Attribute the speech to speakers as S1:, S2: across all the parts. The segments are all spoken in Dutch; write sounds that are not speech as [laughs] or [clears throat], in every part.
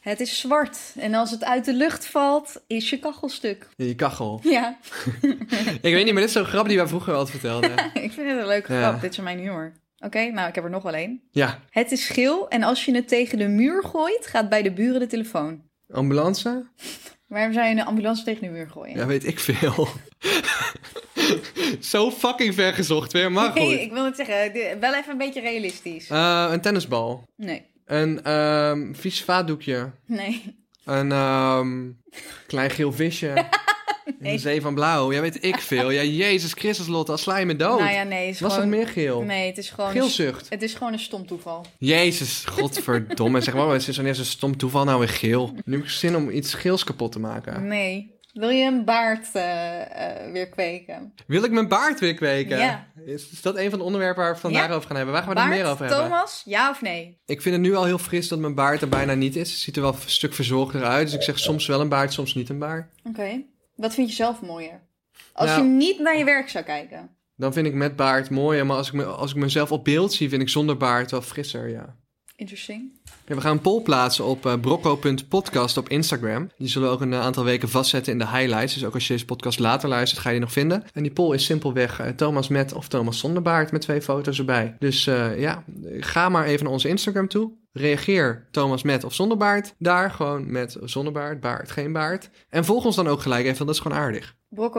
S1: Het is zwart. En als het uit de lucht valt, is je kachel stuk. [laughs]
S2: Je kachel.
S1: Ja,
S2: Ik weet niet, maar dit is zo'n grap die wij vroeger altijd
S1: [laughs]
S2: vertelden.
S1: ik vind het een leuke
S2: Ja.
S1: grap. Dit is mijn humor. Oké, nou, ik heb er nog wel één.
S2: Ja,
S1: Het is geel en als je het tegen de muur gooit, gaat bij de buren de telefoon.
S2: ambulance?
S1: Waarom zou je een ambulance tegen de muur gooien?
S2: Ja, weet ik veel. [laughs] Zo fucking ver gezocht weer, maar goed.
S1: Nee, ik wil het zeggen, dit- wel even een beetje realistisch.
S2: Eh, een tennisbal.
S1: Nee,
S2: Een ehm vies vaatdoekje.
S1: nee.
S2: Een ehm, klein geel visje.
S1: [laughs]
S2: In de zee van blauw. Jij weet ik veel. Ja, Jezus Christus, Lotte, als sla je me dood.
S1: Nou ja, nee. Het is
S2: Oh, Was dat
S1: gewoon...
S2: meer geel?
S1: Nee, het is gewoon...
S2: Geelzucht.
S1: Het is gewoon een stom toeval.
S2: Jezus, godverdomme. zeg maar, wat is wanneer zo'n stom toeval nou weer geel? Nu heb ik zin om iets geels kapot te maken.
S1: Nee. Wil je een baard eh, eh, weer kweken?
S2: Wil ik mijn baard weer kweken?
S1: Ja.
S2: Is, is dat een van de onderwerpen waar we vandaag
S1: Ja.
S2: over gaan hebben? Waar gaan we
S1: baard,
S2: het meer over hebben?
S1: Thomas, ja of nee?
S2: Ik vind het nu al heel fris dat mijn baard er bijna niet is. Het ziet er wel een stuk verzorgder uit. Dus ik zeg soms wel een baard, soms niet een baard.
S1: Oké. Wat vind je zelf mooier? Als
S2: Nou-
S1: je niet naar je werk zou kijken.
S2: Dan vind ik met baard mooier. Maar als ik, me, als ik mezelf op beeld zie, vind ik zonder baard wel frisser, ja.
S1: Interesting.
S2: Ja, we gaan een poll plaatsen op eh, brocco.podcast op Instagram. Die zullen we ook een eh, aantal weken vastzetten in de highlights. Dus ook als je deze podcast later luistert, ga je die nog vinden. En die poll is simpelweg eh, Thomas met of Thomas zonder baard met twee foto's erbij. Dus eh, ja, ga maar even naar onze Instagram toe. Reageer Thomas met of zonder baard. Daar gewoon met zonder baard, baard, geen baard. En volg ons dan ook gelijk even, want dat is gewoon aardig.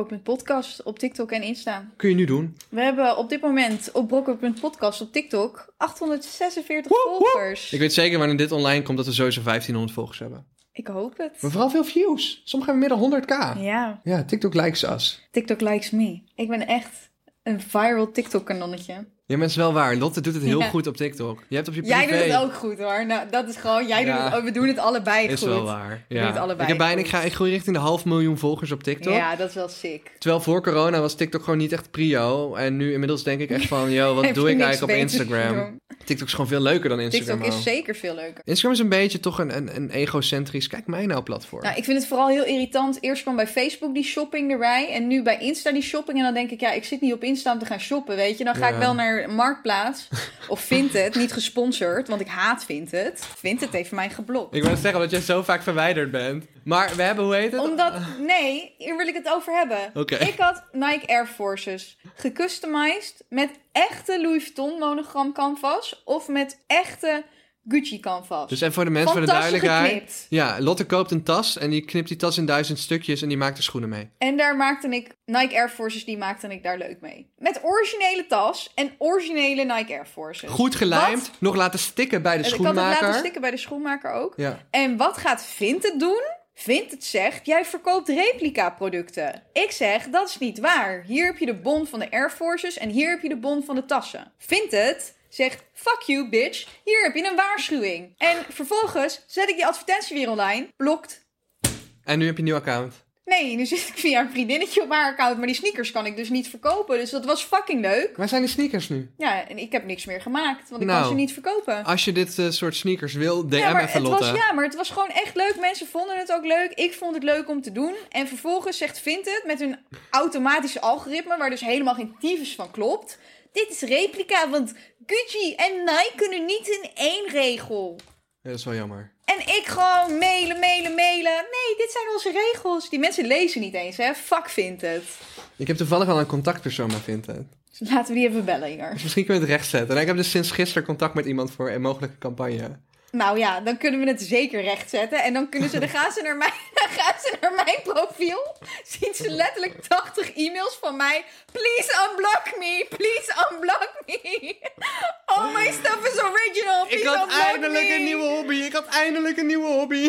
S1: Brokko.podcast op TikTok en Insta.
S2: Kun je nu doen.
S1: We hebben op dit moment op Brokko.podcast op TikTok 846 volgers.
S2: Ik weet zeker wanneer dit online komt dat we sowieso 1500 volgers hebben.
S1: Ik hoop het.
S2: Maar vooral veel views. Sommigen hebben meer dan 100k.
S1: Ja,
S2: Ja, TikTok likes us.
S1: TikTok likes me. Ik ben echt een viral TikTok-kanonnetje.
S2: Ja, maar het is wel waar. Lotte doet het heel
S1: Ja.
S2: goed op TikTok. Je hebt op je privé...
S1: Jij doet het ook goed hoor. Nou, dat is gewoon, jij doet
S2: Ja.
S1: het ook. We doen het allebei
S2: Is
S1: goed.
S2: wel waar. Ja.
S1: doet allebei
S2: ik, heb bijna,
S1: goed.
S2: ik, ga, ik groei richting de half miljoen volgers op TikTok.
S1: Ja, dat is wel sick.
S2: Terwijl voor corona was TikTok gewoon niet echt prio. En nu inmiddels denk ik echt van... Yo,
S1: [laughs]
S2: wat
S1: Heb
S2: doe
S1: je
S2: ik
S1: niks
S2: eigenlijk op
S1: beters te
S2: Instagram?
S1: doen?
S2: TikTok is gewoon veel leuker dan Instagram.
S1: TikTok is
S2: al.
S1: zeker veel leuker.
S2: Instagram is een beetje toch een, een, een egocentrisch... Kijk mij nou platform.
S1: Nou, ik vind het vooral heel irritant. Eerst kwam bij Facebook die shopping erbij. En nu bij Insta die shopping. En dan denk ik, ja, ik zit niet op Insta om te gaan shoppen, weet je. Dan ga
S2: Ja.
S1: ik wel naar Marktplaats [laughs] of Vinted. Niet gesponsord, want ik haat Vinted. Vinted heeft mij geblokt.
S2: Ik wil het zeggen, omdat jij zo vaak verwijderd bent. Maar we hebben, hoe heet het?
S1: Omdat, nee, hier wil ik het over hebben.
S2: Oké.
S1: Ik had Nike Air Forces gecustomized met echte Louis Vuitton monogram canvas of met echte Gucci canvas.
S2: Dus even voor de mensen, voor de
S1: Fantastisch
S2: duidelijkheid.
S1: geknipt.
S2: Ja, Lotte koopt een tas en die knipt die tas in duizend stukjes en die maakt er schoenen mee.
S1: En daar maakte ik Nike Air Forces, die maakte ik daar leuk mee. Met originele tas en originele Nike Air Forces.
S2: Goed gelijmd, nog laten stikken bij de
S1: En ik had het
S2: schoenmaker.
S1: laten stikken bij de schoenmaker ook.
S2: Ja.
S1: En wat gaat Vinted doen? Vinted zegt, jij verkoopt replica producten. Ik zeg, dat is niet waar. Hier heb je de bon van de Air Forces en hier heb je de bon van de tassen. Vinted zegt, fuck you bitch, hier heb je een waarschuwing. En vervolgens zet ik die advertentie weer online, blokt.
S2: En nu heb je een nieuw account.
S1: Nee, nu zit ik via een vriendinnetje op haar account, maar die sneakers kan ik dus niet verkopen. Dus dat was fucking leuk.
S2: Waar zijn die sneakers nu?
S1: Ja, en ik heb niks meer gemaakt, want ik
S2: Nou.
S1: kan ze niet verkopen.
S2: Als je dit eh, soort sneakers wil, DM
S1: ja, maar
S2: even
S1: het
S2: Lotte.
S1: was, ja, maar het was gewoon echt leuk. Mensen vonden het ook leuk. Ik vond het leuk om te doen. En vervolgens zegt Vinted met hun automatische algoritme, waar dus helemaal geen tyfus van klopt. Dit is replica, want Gucci en Nike kunnen niet in één regel.
S2: Ja, dat is wel jammer.
S1: En ik gewoon mailen, mailen, mailen. Nee, dit zijn onze regels. Die mensen lezen niet eens, hè. Fuck Vinted.
S2: Ik heb toevallig al een contactpersoon bij Vinted.
S1: Dus laten we die even bellen hier.
S2: Dus misschien kunnen we het rechtzetten. En ik heb dus sinds gisteren contact met iemand voor een mogelijke campagne.
S1: Nou ja, dan kunnen we het zeker rechtzetten. En dan kunnen ze, dan gaan ze naar mijn, [laughs] dan gaan ze naar mijn profiel. Zien ze letterlijk 80 e-mails van mij. Please unblock me, please unblock me. All my stuff is original, please
S2: ik had
S1: unblock
S2: eindelijk
S1: me.
S2: een nieuwe hobby. Ik had eindelijk een nieuwe hobby.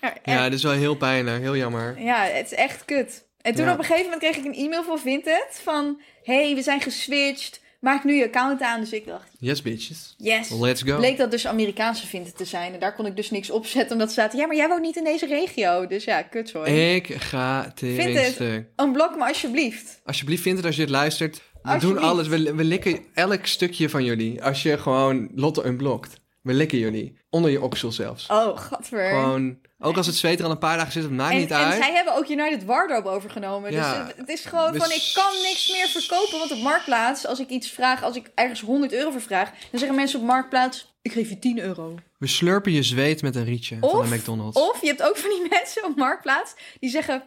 S1: Ja,
S2: Ja,
S1: echt.
S2: dit is wel heel pijnlijk. Heel jammer.
S1: ja, het is echt kut. En toen
S2: Ja.
S1: op een gegeven moment kreeg ik een e-mail van Vinted. Van, hey, we zijn geswitcht. Maak nu je account aan. Dus ik dacht,
S2: Yes, bitches.
S1: yes.
S2: Let's go.
S1: Bleek dat dus Amerikaanse Vinted te zijn. En daar kon ik dus niks op zetten. Omdat ze zaten, ja, maar jij woont niet in deze regio. Dus ja, kut hoor.
S2: Ik ga
S1: Vinted.
S2: stuk.
S1: Unblock me alsjeblieft.
S2: Alsjeblieft, Vinted, als je dit luistert. We doen
S1: Alsjeblieft.
S2: alles. We, we likken elk stukje van jullie. Als je gewoon Lotte unblokt. We likken jullie. Onder je oksel zelfs.
S1: Oh, gadver.
S2: Gewoon, ook als het zweet er al een paar dagen zit, het maakt
S1: en,
S2: niet
S1: en
S2: uit.
S1: zij hebben ook United Wardrobe overgenomen.
S2: Ja.
S1: Dus het, het is gewoon
S2: We
S1: van, ik kan niks meer verkopen. Want op Marktplaats, als ik iets vraag, als ik ergens 100 euro voor vraag... dan zeggen mensen op Marktplaats, ik geef je 10 euro.
S2: We slurpen je zweet met een rietje van de McDonald's.
S1: Of je hebt ook van die [laughs] mensen op Marktplaats die zeggen: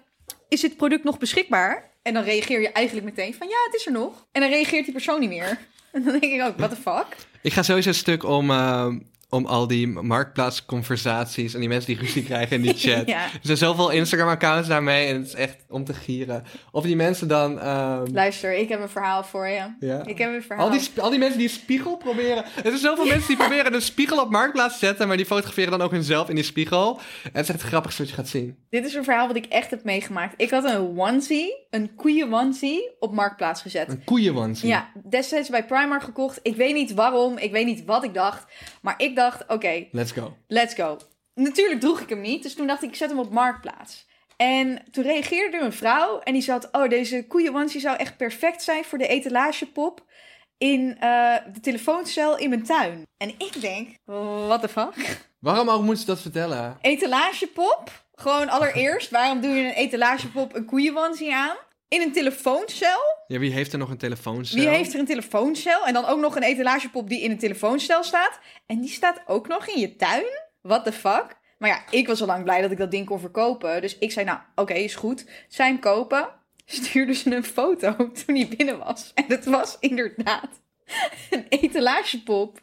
S1: Is dit product nog beschikbaar? En dan reageer je eigenlijk meteen van: Ja, het is er nog. En dan reageert die persoon niet meer. [laughs] En dan denk ik ook: What the fuck?
S2: Ik ga sowieso een stuk om, eh, om al die marktplaatsconversaties en die mensen die ruzie
S1: [laughs]
S2: krijgen in die chat.
S1: Ja.
S2: Er zijn zoveel Instagram-accounts daarmee en het is echt om te gieren. Of die mensen dan... ehm,
S1: Luister, ik heb een verhaal voor je.
S2: Ja.
S1: Ik heb een verhaal.
S2: al, die, sp- al die mensen die een spiegel proberen... Er zijn zoveel mensen die proberen een spiegel op marktplaats te zetten... maar die fotograferen dan ook hunzelf in die spiegel. En het is echt het grappigste wat je gaat zien.
S1: Dit is een verhaal wat ik echt heb meegemaakt. Ik had een onesie, een koeien onesie, op Marktplaats gezet.
S2: Een koeienwansie.
S1: Ja, destijds bij Primark gekocht. Ik weet niet waarom, ik weet niet wat ik dacht. Maar ik dacht, oké,
S2: Let's go.
S1: let's go. Natuurlijk droeg ik hem niet, dus toen dacht ik, ik zet hem op Marktplaats. En toen reageerde een vrouw en die zat, oh, deze koeienwansie zou echt perfect zijn voor de etalagepop in eh, de telefooncel in mijn tuin. En ik denk, what the fuck?
S2: Waarom ook moeten ze dat vertellen?
S1: Etalagepop? Gewoon allereerst, waarom doe je een etalagepop een koeienwansie aan? In een telefooncel?
S2: Ja, wie heeft er nog een telefooncel?
S1: Wie heeft er een telefooncel? En dan ook nog een etalagepop die in een telefooncel staat. En die staat ook nog in je tuin? What the fuck? Maar ja, ik was al lang blij dat ik dat ding kon verkopen. Dus ik zei, nou, oké, is goed. Zij hem kopen. [laughs] Stuurde ze een foto [laughs] toen hij binnen was. En het was inderdaad [laughs] een etalagepop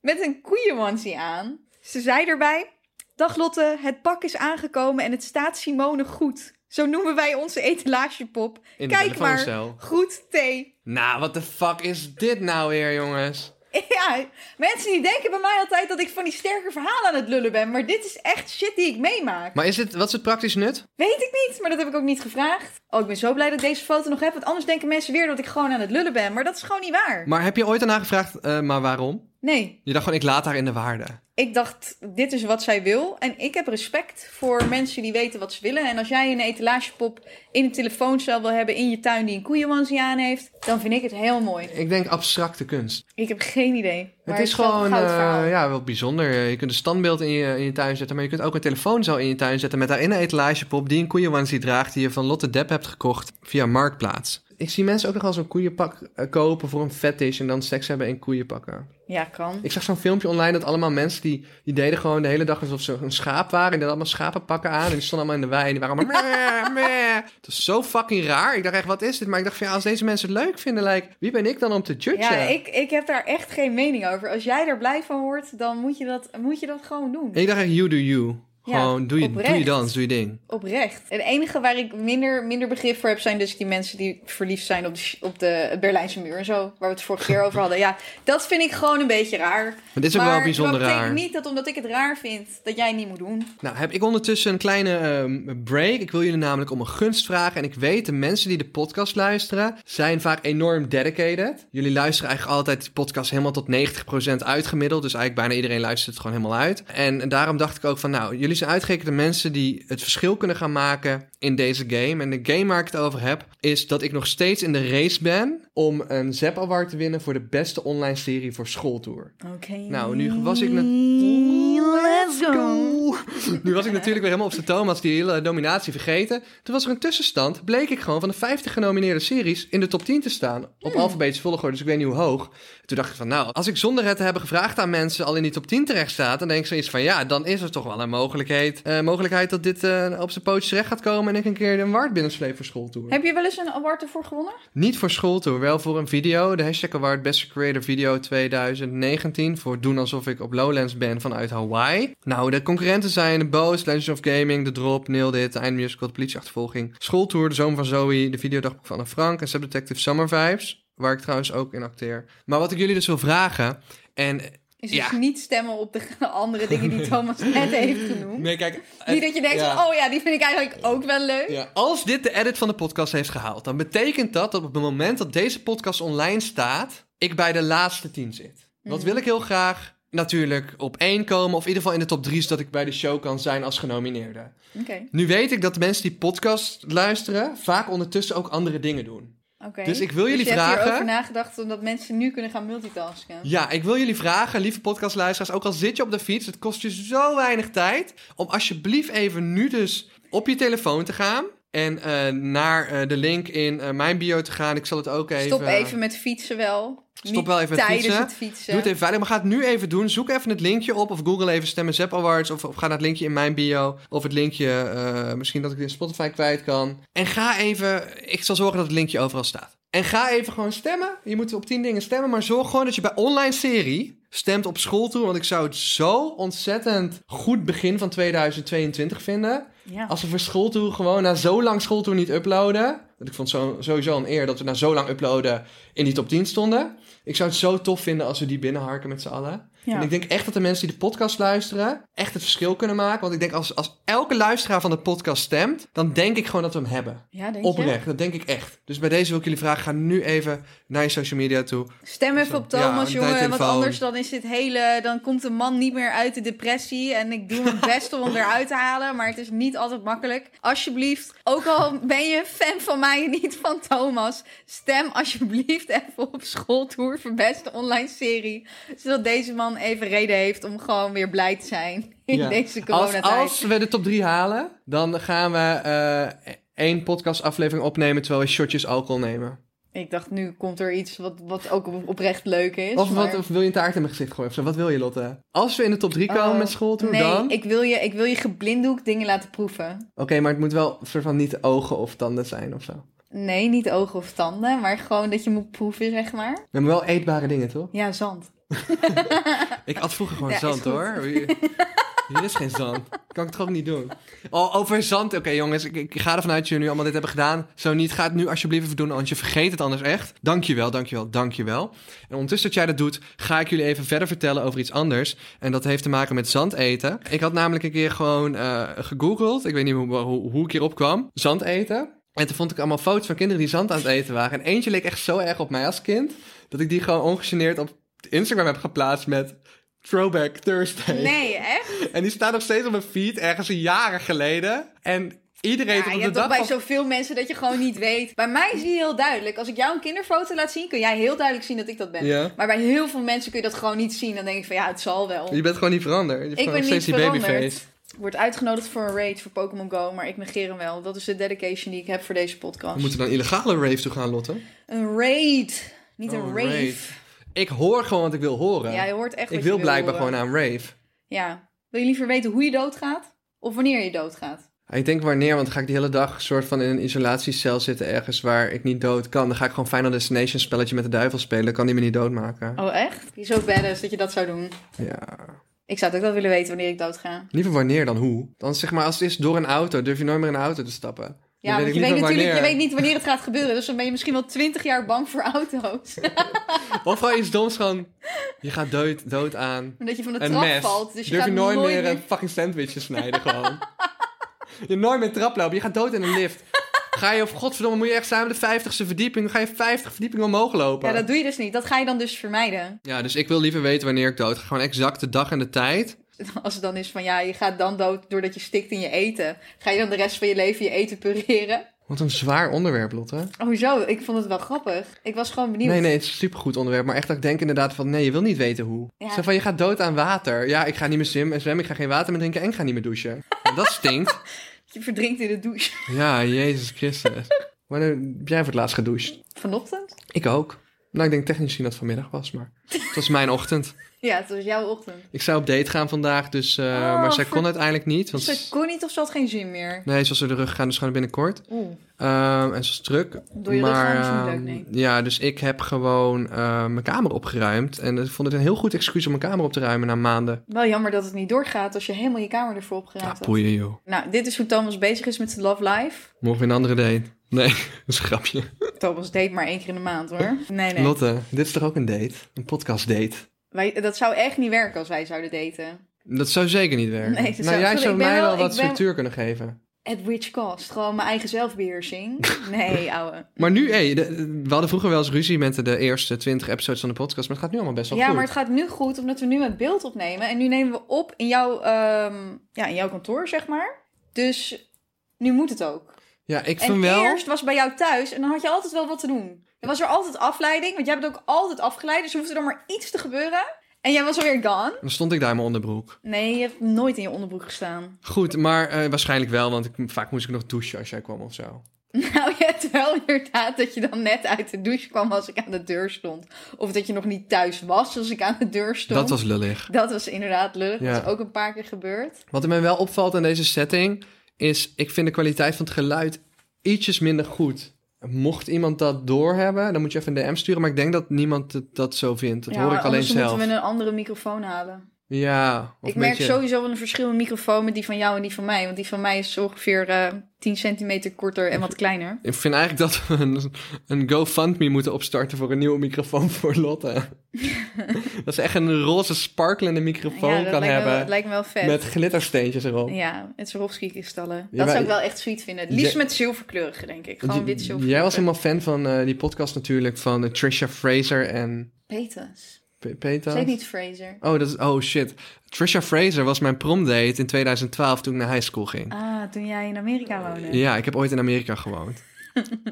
S1: met een koeienwansie aan. Ze zei erbij, dag Lotte, het pak is aangekomen en het staat Simone goed. Zo noemen wij onze etalagepop.
S2: In de
S1: Kijk maar,
S2: telefooncel.
S1: goed thee.
S2: Nou, wat de fuck is dit nou weer, jongens?
S1: [laughs] Ja, mensen die denken bij mij altijd dat ik van die sterke verhalen aan het lullen ben. Maar dit is echt shit die ik meemaak.
S2: Maar is het, wat is het praktisch nut?
S1: Weet ik niet, maar dat heb ik ook niet gevraagd. Oh, ik ben zo blij dat ik deze foto nog heb. Want anders denken mensen weer dat ik gewoon aan het lullen ben. Maar dat is gewoon niet waar.
S2: Maar heb je ooit daarna gevraagd, eh, maar waarom?
S1: Nee,
S2: Je dacht gewoon, ik laat haar in de waarde.
S1: ik dacht, dit is wat zij wil. En ik heb respect voor mensen die weten wat ze willen. En als jij een etalagepop in een telefooncel wil hebben in je tuin die een koeienwansie aan heeft. Dan vind ik het heel mooi.
S2: Ik denk abstracte kunst.
S1: Ik heb geen idee. maar
S2: het is
S1: wel een
S2: gewoon
S1: goud
S2: eh,
S1: verhaal.
S2: ja, wel bijzonder. Eh, Je kunt een standbeeld in je, in je tuin zetten, maar je kunt ook een telefoonzaal in je tuin zetten met daarin een etalagepop die een koeienwansie draagt die je van Lotte Depp hebt gekocht via Marktplaats. Ik zie mensen ook nogal zo'n koeienpak eh, kopen voor een fetish en dan seks hebben in koeienpakken.
S1: ja, kan.
S2: Ik zag zo'n filmpje online dat allemaal mensen die, die deden gewoon de hele dag alsof ze een schaap waren. En die hadden allemaal schapenpakken aan en die stonden allemaal in de wei en die waren allemaal meh, meh. Het was zo fucking raar. Ik dacht echt, wat is dit? Maar ik dacht van ja, als deze mensen het leuk vinden, like, wie ben ik dan om te judgen?
S1: Ja, ik, ik heb daar echt geen mening over. Als jij er blij van wordt, dan moet je dat, moet je dat gewoon doen.
S2: En ik dacht echt, you do you.
S1: Ja,
S2: Gewoon, doe, je, doe je
S1: oprecht.
S2: dans, doe je ding.
S1: Oprecht. Het enige waar ik minder, minder begrip voor heb, zijn dus die mensen die verliefd zijn op de, sh- op de het Berlijnse muur en zo. Waar we het vorige keer over hadden. Ja, dat vind ik gewoon een beetje raar.
S2: Maar dit is ook
S1: maar
S2: wel bijzonder
S1: dat
S2: raar.
S1: betekent niet dat omdat ik het raar vind, dat jij het niet moet doen.
S2: Nou, heb ik ondertussen een kleine ehm, break. Ik wil jullie namelijk om een gunst vragen. En ik weet, de mensen die de podcast luisteren, zijn vaak enorm dedicated. Jullie luisteren eigenlijk altijd die podcast helemaal tot 90% uitgemiddeld. Dus eigenlijk bijna iedereen luistert het gewoon helemaal uit. En daarom dacht ik ook van, nou, jullie zijn uitgerekende mensen die het verschil kunnen gaan maken in deze game. En de game waar ik het over heb, is dat ik nog steeds in de race ben om een ZEP Award te winnen voor de beste online serie voor schooltour.
S1: Oké.
S2: Nou, nu was ik net-
S1: Let's go.
S2: Nu was ik natuurlijk weer helemaal op zijn toon, als die hele nominatie vergeten. Toen was er een tussenstand, bleek ik gewoon van de 50 genomineerde series in de top 10 te staan. Op alfabetische volgorde, dus ik weet niet hoe hoog. Toen dacht ik van, nou, als ik zonder het te hebben gevraagd aan mensen al in die top 10 terecht staat, dan denk ik zoiets van, ja, dan is er toch wel een mogelijkheid, eh, mogelijkheid dat dit eh, op zijn pootjes terecht gaat komen en ik een keer een waard binnensleep voor schooltour.
S1: Heb je wel eens een award ervoor gewonnen?
S2: Niet voor schooltour, wel voor een video. De hashtag award Beste Creator Video 2019. Voor doen alsof ik op Lowlands ben vanuit Hawaii. Nou, de concurrenten zijn de Boos, Legends of Gaming, De Drop, Nailed It, The Eind Musical, De Politieachtervolging, Schooltour, De Zoon van Zoe, De Videodagboek van Anne Frank en Subdetective Summer Vibes. Waar ik trouwens ook in acteer. Maar wat ik jullie dus wil vragen, en...
S1: Is
S2: Ja.
S1: dus niet stemmen op de [laughs] andere dingen die Thomas net heeft genoemd.
S2: Nee, kijk...
S1: Niet dat je denkt, oh ja, die vind ik eigenlijk ook wel leuk.
S2: Ja, als dit de edit van de podcast heeft gehaald, dan betekent dat dat op het moment dat deze podcast online staat, ik bij de laatste tien zit. Dat wil ik heel graag natuurlijk op één komen, of in ieder geval in de top drie, zodat ik bij de show kan zijn als genomineerde.
S1: Oké,
S2: Nu weet ik dat de mensen die podcast luisteren vaak ondertussen ook andere dingen doen.
S1: oké.
S2: Dus ik wil jullie
S1: je hebt
S2: vragen-
S1: hierover nagedacht omdat mensen nu kunnen gaan multitasken.
S2: Ja, ik wil jullie vragen, lieve podcastluisteraars, ook al zit je op de fiets, het kost je zo weinig tijd, om alsjeblieft even nu dus op je telefoon te gaan. En eh, naar eh, de link in eh, mijn bio te gaan. Ik zal het ook even...
S1: Stop even met fietsen wel.
S2: Stop
S1: Niet
S2: wel even met
S1: tijdens
S2: fietsen.
S1: het fietsen.
S2: Doe het even veilig, maar ga het nu even doen. Zoek even het linkje op of google even Stemmen Zep Awards. Of, of ga naar het linkje in mijn bio. Of het linkje, eh, misschien dat ik dit in Spotify kwijt kan. En ga even, ik zal zorgen dat het linkje overal staat. En ga even gewoon stemmen. Je moet op tien dingen stemmen, maar zorg gewoon dat je bij online serie stemt op school toe. Want ik zou het zo ontzettend goed begin van 2022 vinden.
S1: Ja.
S2: Als we voor school toe gewoon na zo lang school toe niet uploaden. Want ik vond zo, sowieso een eer dat we na zo lang uploaden in die top 10 stonden. Ik zou het zo tof vinden als we die binnenharken met z'n allen.
S1: Ja.
S2: En ik denk echt dat de mensen die de podcast luisteren echt het verschil kunnen maken. Want ik denk als, als elke luisteraar van de podcast stemt, dan denk ik gewoon dat we hem hebben.
S1: Ja, denk je?
S2: Oprecht, dat denk ik echt. Dus bij deze wil ik jullie vragen, ga nu even naar je social media toe.
S1: Stem even op Thomas,
S2: Ja,
S1: jongen. Want
S2: telefoon.
S1: anders dan is dit hele. Dan komt de man niet meer uit de depressie. En ik doe
S2: [laughs]
S1: mijn best om hem eruit te halen. Maar het is niet altijd makkelijk. Alsjeblieft, ook al ben je een fan van mij en niet van Thomas. Stem alsjeblieft even op schooltour voor beste online serie. Zodat deze man even reden heeft om gewoon weer blij te zijn in
S2: Ja.
S1: deze
S2: Als,
S1: coronatijd.
S2: als we de top 3 halen, dan gaan we eh één podcast aflevering opnemen terwijl we shotjes alcohol nemen.
S1: Ik dacht, nu komt er iets wat, wat ook op- oprecht leuk is.
S2: Of,
S1: maar-
S2: wat, of wil je een taart in mijn gezicht gooien? Of zo? Wat wil je, Lotte? Als we in de top 3 komen
S1: Oh,
S2: met school toe,
S1: nee,
S2: dan...
S1: ik wil je, ik wil je geblinddoek dingen laten proeven.
S2: Oké, maar het moet wel een soort van niet ogen of tanden zijn of zo.
S1: Nee, niet ogen of tanden, maar gewoon dat je moet proeven, zeg maar.
S2: We hebben wel eetbare dingen, toch?
S1: Ja, zand.
S2: Ik at vroeger gewoon
S1: Ja, is
S2: zand,
S1: goed. [laughs]
S2: hoor. Hier hier is geen zand. Kan ik het gewoon niet doen. Oh, over zand. Oké, jongens. Ik, ik ga ervan uit dat jullie nu allemaal dit hebben gedaan. Zo niet, ga het nu alsjeblieft even doen, want je vergeet het anders echt. Dankjewel, dankjewel, dankjewel. En ondertussen dat jij dat doet, ga ik jullie even verder vertellen over iets anders. En dat heeft te maken met zand eten. Ik had namelijk een keer gewoon eh, gegoogeld. Ik weet niet hoe, hoe, hoe ik hierop kwam. Zand eten. En toen vond ik allemaal foto's van kinderen die zand aan het eten waren. En eentje leek echt zo erg op mij als kind... dat ik die gewoon ongegeneerd op Instagram heb geplaatst met... Throwback Thursday.
S1: Nee, echt?
S2: En die staat nog steeds op mijn feed, ergens een jaren geleden. En iedereen
S1: Ja, Nou,
S2: tot
S1: je
S2: op de
S1: hebt toch
S2: dag
S1: bij
S2: van...
S1: zoveel mensen dat je gewoon niet weet. Bij mij zie je heel duidelijk. Als ik jou een kinderfoto laat zien, kun jij heel duidelijk zien dat ik dat ben.
S2: Ja.
S1: Maar bij heel veel mensen kun je dat gewoon niet zien. Dan denk ik van, ja, het zal wel.
S2: Je bent gewoon niet veranderd. Je
S1: Ik
S2: hebt gewoon
S1: ben
S2: nog
S1: niet
S2: steeds die babyface.
S1: veranderd. Wordt uitgenodigd voor een raid voor Pokémon Go, maar ik negeer hem wel. Dat is de dedication die ik heb voor deze podcast.
S2: We moeten naar een illegale rave toe gaan, Lotte.
S1: Een raid, niet
S2: Oh,
S1: een
S2: een
S1: rave.
S2: Ik hoor gewoon wat ik wil horen.
S1: Ja, je hoort echt
S2: ik
S1: wat
S2: wil
S1: je
S2: blijkbaar
S1: horen.
S2: gewoon naar een rave.
S1: Ja. Wil je liever weten hoe je doodgaat? Of wanneer je doodgaat?
S2: Ik denk wanneer, want dan ga ik die hele dag soort van in een isolatiecel zitten ergens waar ik niet dood kan. Dan ga ik gewoon Final Destination spelletje met de duivel spelen. Dan kan die me niet doodmaken.
S1: Oh, echt? Je is zo badass dat je dat zou doen.
S2: Ja.
S1: Ik zou het ook wel willen weten wanneer ik doodga.
S2: Liever wanneer dan hoe. Dan zeg maar als het is door een auto, durf je nooit meer in een auto te stappen.
S1: Ja,
S2: Dan
S1: want je
S2: ik
S1: weet
S2: liever
S1: natuurlijk je
S2: wanneer.
S1: weet niet wanneer het gaat gebeuren. Dus dan ben je misschien wel twintig jaar bang voor auto's. [laughs]
S2: Of gewoon iets doms gewoon. Je gaat dood, dood aan.
S1: Omdat je van de
S2: Een
S1: trap
S2: mes.
S1: valt. Dus je
S2: Durf
S1: gaat
S2: je nooit meer een fucking sandwich te snijden gewoon. je nooit meer trap lopen. Je gaat dood in een lift. Ga je, of godverdomme, moet je echt samen de 50ste verdieping. Ga je 50 verdiepingen omhoog lopen.
S1: Ja, dat doe je dus niet. Dat ga je dan dus vermijden. [laughs]
S2: Ja, dus ik wil liever weten wanneer ik dood ga. Gewoon exact de dag en de tijd.
S1: Als het dan is van ja, je gaat dan dood doordat je stikt in je eten. Ga je dan de rest van je leven je eten pureren?
S2: Wat een zwaar onderwerp, Lotte.
S1: Oh, zo. Ik vond het wel grappig. Ik was gewoon benieuwd.
S2: Nee, nee, het is een supergoed onderwerp. Maar echt, dat ik denk inderdaad van, nee, je wil niet weten hoe.
S1: Ja.
S2: Zo van, je gaat dood aan water. Ja, ik ga niet meer zwemmen, en zwemmen ik ga geen water meer drinken en ik ga niet meer douchen. En dat
S1: [laughs]
S2: stinkt.
S1: Je verdrinkt in de douche. [laughs]
S2: Ja, Jezus Christus. Wanneer heb jij voor het laatst gedoucht?
S1: Vanochtend?
S2: Ik ook. Nou, ik denk technisch gezien dat het vanmiddag was, maar het was mijn ochtend.
S1: Ja, het was jouw ochtend.
S2: Ik zou op date gaan vandaag, dus, eh,
S1: Oh,
S2: maar zij
S1: voor-
S2: kon uiteindelijk niet. Want,
S1: Ze kon niet of ze had geen zin meer.
S2: Nee, ze was door de rug gegaan, dus gewoon binnenkort.
S1: Oeh.
S2: Ehm, en ze is druk.
S1: Door je rug
S2: maar,
S1: gaan is niet
S2: ehm,
S1: leuk, nee.
S2: Ja, dus ik heb gewoon eh, mijn kamer opgeruimd. En ik vond het een heel goed excuus om mijn kamer op te ruimen na maanden.
S1: Wel jammer dat het niet doorgaat als je helemaal je kamer ervoor
S2: Ja,
S1: opgeruimd hebt.
S2: boeien joh.
S1: Nou, dit is hoe Thomas bezig is met zijn love life.
S2: Morgen weer een andere date. Nee, [laughs] dat is een grapje.
S1: Thomas date maar één keer in de maand
S2: [laughs]
S1: hoor. Nee, nee.
S2: Lotte, dit is toch ook een date? Een podcast date?
S1: Wij, dat zou echt niet werken als wij zouden daten.
S2: Dat zou zeker niet werken.
S1: Nee, dat
S2: nou,
S1: zou-
S2: jij
S1: sorry,
S2: zou
S1: ik ben
S2: mij wel,
S1: wel-
S2: wat
S1: ik ben-
S2: structuur kunnen geven.
S1: At which cost? Gewoon mijn eigen zelfbeheersing?
S2: [laughs]
S1: Nee, ouwe.
S2: Maar nu, hé, de- we hadden vroeger wel eens ruzie met de, de eerste 20 episodes van de podcast, maar het gaat nu allemaal best wel
S1: Ja,
S2: goed.
S1: maar het gaat nu goed omdat we nu met beeld opnemen. En nu nemen we op in jouw, ehm, ja, in jouw kantoor, zeg maar. Dus nu moet het ook.
S2: Ja, ik
S1: En
S2: vind wel.
S1: eerst was bij jou thuis en dan had je altijd wel wat te doen. Er was er altijd afleiding, want jij bent ook altijd afgeleid. Dus er hoefde dan maar iets te gebeuren. En jij was alweer gone?
S2: Dan stond ik daar in mijn onderbroek.
S1: Nee, je hebt nooit in je onderbroek gestaan. [laughs]
S2: Goed, maar eh, waarschijnlijk wel, want ik, vaak moest ik nog douchen als jij kwam of zo.
S1: Nou, je hebt wel inderdaad dat je dan net uit de douche kwam als ik aan de deur stond. Of dat je nog niet thuis was als ik aan de deur stond.
S2: Dat was lullig.
S1: Dat was inderdaad lullig.
S2: Ja.
S1: Dat is ook een paar keer gebeurd.
S2: Wat mij wel opvalt aan deze setting is, ik vind de kwaliteit van het geluid ietsjes minder goed. Mocht iemand dat doorhebben, dan moet je even een DM sturen. Maar ik denk dat niemand het- dat zo vindt. Dat
S1: Ja,
S2: hoor
S1: maar
S2: ik alleen
S1: anders
S2: zelf.
S1: moeten we een andere microfoon halen.
S2: Ja, of
S1: ik
S2: een
S1: merk
S2: beetje-
S1: sowieso wel een verschil in microfoon met die van jou en die van mij. Want die van mij is ongeveer eh 10 centimeter korter en wat kleiner.
S2: Ik vind eigenlijk dat we een, een GoFundMe moeten opstarten voor een nieuwe microfoon voor
S1: [laughs]
S2: Lotte. dat ze echt een roze sparklende microfoon
S1: ja, dat
S2: kan
S1: lijkt, me, wel-
S2: hebben.
S1: lijkt me wel vet.
S2: met glittersteentjes erop.
S1: Ja, het Swarovski-kristallen.
S2: Ja,
S1: dat zou
S2: maar-
S1: ik wel echt sweet vinden. Het liefst
S2: Jij-
S1: met zilverkleurige, denk ik. Gewoon
S2: Want
S1: wit
S2: j- Jij
S1: zilverkleurig.
S2: was helemaal fan van eh, die podcast natuurlijk van eh, Trisha Fraser en
S1: Peters.
S2: P- Peter.
S1: Zeg niet Fraser.
S2: Oh, dat is, oh shit. Trisha Fraser was mijn promdate in 2012 toen ik naar high school ging.
S1: Ah, toen jij in Amerika woonde.
S2: Ja, ik heb ooit in Amerika
S1: [laughs]
S2: gewoond.